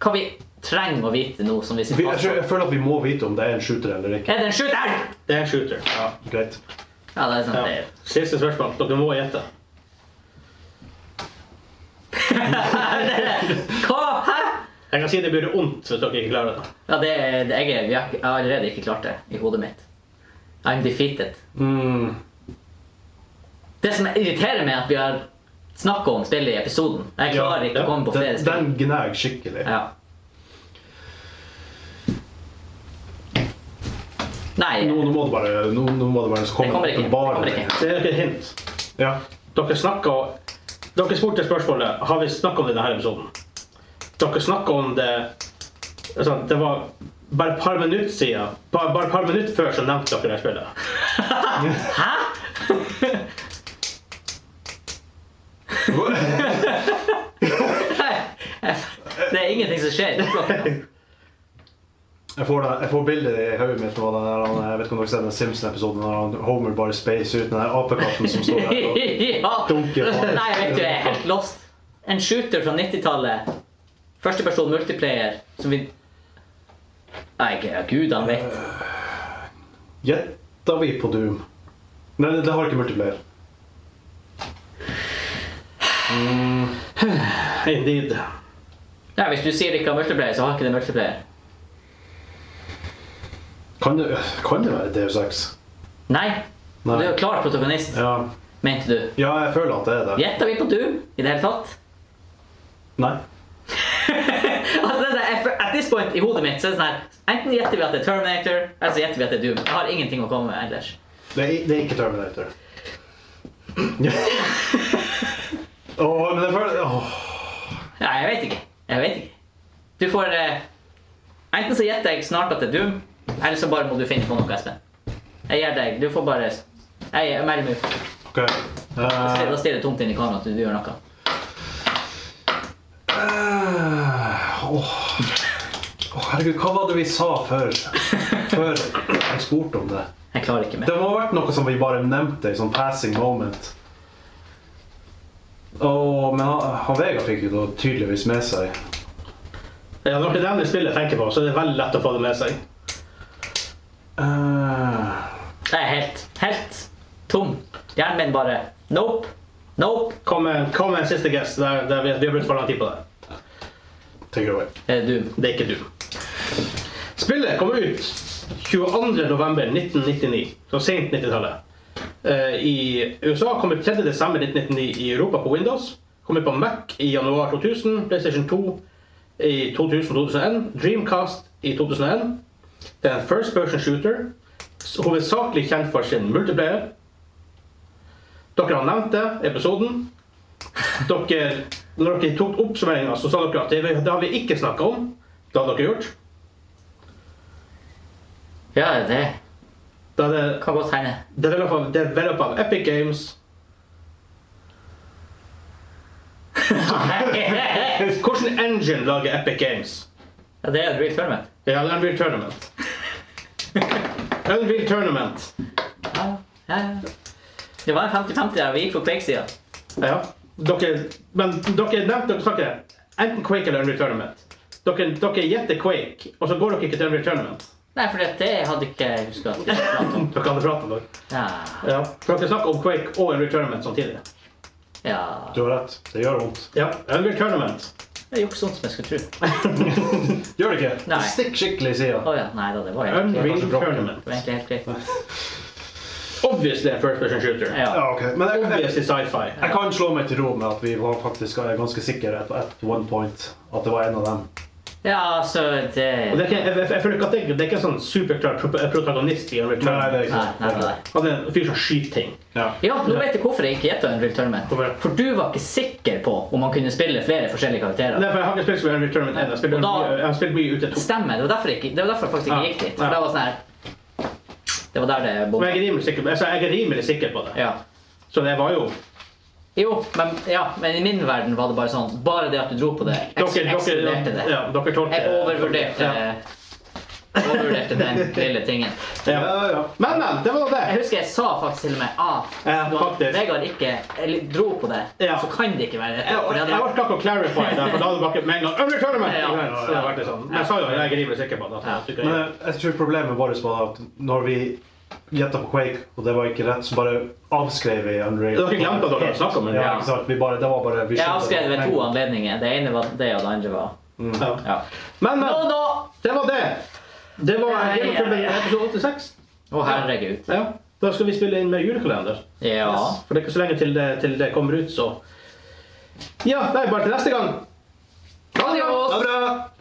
Hva vi trenger å vite nå som vi
Vi,
sitter
jeg,
fast
tror,
på?
jeg føler at vi må vite om det er en shooter eller ikke.
Er det en skyt elg?
Det er en shooter. Ja.
Greit.
Ja, det er sant. det er-
Siste spørsmål. Dere må gjette.
Hva? Hæ?
Jeg kan si det blir ondt hvis dere ikke klarer det.
Ja, det, det jeg, er- vi har, jeg har allerede ikke klart det i hodet mitt. I'm defeated.
Mm.
Det som irriterer meg, er at vi har snakket om spillet i episoden. Jeg
Ja,
klarer ikke
ja.
å komme på flere
Den,
spill.
den gnager skikkelig.
Ja. Nei,
Nå, nå må det bare, nå, nå må det bare så
det
komme
kommer ikke. Det
bare-
kommer ikke.
Det er dere et hint.
Ja.
Dere snakka Dere spurte spørsmålet har vi snakket om det i denne episoden. Dere snakka om det sånn, Det var bare et par minutter siden. Bare, bare et par minutter før så nevnte dere det spillet.
Hæ? Nei, Det er ingenting som skjer.
Jeg får, det, jeg får bildet i hodet mitt nå. Den der, han- jeg vet ikke om dere ser den Simpson-episoden når han Homer bare space ut den der apekatten som står der. og-
ja.
Dunker på han.
Nei, vet du, jeg er helt lost. En shooter fra 90-tallet. Førsteperson multiplayer som vi Nei, ja, gud han vet.
Gjetter vi på Doom? Nei, det, det har ikke multiplayer.
Indeed.
Nei, Hvis du sier det ikke har multiplayer, så har ikke det multiplayer.
Kan det, kan det være DU6?
Nei.
Nei.
Du er jo klar protagonist,
Ja.
mente du.
ja, jeg føler at det er det.
Gjetta vi på Doom i det hele tatt?
Nei.
Altså, det er, at this point i hodet mitt så er det sånn her Enten gjetter vi at det er Terminator, eller så gjetter vi at det er Doom. Jeg har ingenting å komme med ellers.
Det er, det er ikke Terminator. Åh, men jeg føler åh.
Ja, jeg vet ikke. Jeg vet ikke. Du får eh, Enten så gjetter jeg snart at det er Doom, eller så bare må du finne på noe, Espen. Jeg gir deg. Du får bare Jeg jeg melder meg ut.
OK.
Da
Eh,
stirrer- Da stirrer det tomt inn i kameraet til du gjør noe.
eh, Åh, Åh, herregud, hva var det vi sa før? Før jeg spurte om det.
Jeg klarer ikke mer.
Det må ha vært noe som vi bare nevnte i sånn passing moment. Åh, men han, han Vegard fikk jo da tydeligvis med seg.
Ja, når det nevner spillet jeg tenker på, så er det veldig lett å få det med seg.
Eh,
Jeg er helt, helt tom. Hjernen min bare Nope. Nope.
Kom med, kom med en siste guess. Det er- det er- vi har brukt for lang tid på det.
take it away.
Det er du.
Det er ikke du. Spillet kom ut 22.11.1999, så sent 90-tallet. Eh, I USA kom ut 3.12.1999 i Europa på Windows. Kom ut på Mac i januar 2000, PlayStation 2 i 2000-2001, Dreamcast i 2001. Det er en first person shooter, s- hovedsakelig kjent for sin multiplayer. Dere har nevnt det, episoden. Dere, når dere tok oppsummeringa, så sa dere at det, det har vi ikke snakka om. Det har dere gjort.
Ja, det
Da er det
kan godt hende.
developed av, developed av Epic Games. Hvilken engine lager Epic Games?
Ja, det er et real tournament.
Ja, det er Unreal Tournament. Unreal Tournament.
Ja, ja, ja. Det var en 50-50 der. Vi gikk for Quake-sida.
Ja. Dere, men dere nevnte dere snakket enten Quake eller Unreal Tournament. Dere, dere gjetter Quake, og så går dere ikke til Unreal Tournament.
Nei, for det hadde ikke jeg huska.
Dere hadde pratet om det.
Ja.
Ja. For dere snakket om Quake og Unreal Tournament samtidig.
ja.
Du har rett. Det gjør vondt.
Ja, Unreal Tournament.
Det er jo ikke sånn som jeg skulle tro.
Gjør det ikke?
Nei.
Stikk skikkelig i
Å
sida.
ja. Nei da, det var egentlig,
Unreal
kanskje bråk.
det var
Tournament.
egentlig helt greit.
Obviously a first person shooter.
Ja.
Ja, ok. Men jeg, jeg,
Obviously sci-fi.
jeg kan slå meg til ro med at vi var faktisk er ganske sikre at at one point at det var en av dem.
ja, altså det
Og det er ikke, jeg, jeg, jeg føler ikke at det, det er ikke en sånn superklar pro- protagonist i Unreal
Nei, det
Tournament.
er ikke
Nei, nei,
sant.
nei.
Han er en fyr som skyter ting.
Ja.
Ja, nå vet jeg hvorfor jeg ikke gjetta Unreal Tournament.
Hvorfor?
For du var ikke sikker på om man kunne spille flere forskjellige karakterer.
Nei, for jeg har ikke spilt så mye Unreal Tournament ennå. Jeg spiller
Og da-
mye- Jeg har spilt mye ute to.
Stemmer. Det var derfor jeg, ikke- det var derfor jeg faktisk
Ja,
ikke gikk dit.
ja.
For det var sånn her Det var der det
Men
bomma.
jeg er rimelig sikker, altså, jeg er rimelig sikker på det.
Ja.
Så det var jo
Jo, men, ja, men i min verden var det bare sånn Bare det at du dro på det, eks-
Dere, dere,
ekskluderte det.
ja, dere tolker
Jeg overvurderte Overvurderte den lille tingen.
Ja.
Ja,
Ja.
ja.
Men, men. Det var det.
Jeg husker jeg sa faktisk til og med ah,
Ja,
når
faktisk.
Vegard ikke eller dro på det,
Ja.
så kan det ikke være dette.
Jeg
for det
jeg
hadde vært-
orka ikke å clarify det, for da hadde dere med en gang Unreal Tournament!
Ja, ja,
Så det hadde vært litt sånn. Men jeg sa jo at jeg er rimelig sikker på det. at jeg
Men
tykker-
jeg, jeg tror problemet vårt var at når vi gjetta på Quake, og det var ikke rett, så bare avskrev vi Unreal.
Dere glemte at dere hadde snakket om Unreal.
Ja, ikke sant? Vi bare, det var bare... Vi
Jeg
skjønte
avskrev
det.
ved to anledninger. Det ene var det, og det andre var
Ja.
ja.
Men, men.
Nå, nå!
Det var det. Det var
Nei,
Game of Thrones
Eh, ja, ja.
episode 86.
Å, herregud.
Ja. Da skal vi spille inn med julekalender.
Ja.
For det er ikke så lenge til det, til det kommer ut, så Ja, det er bare til neste gang.
Adios!
Ha det bra!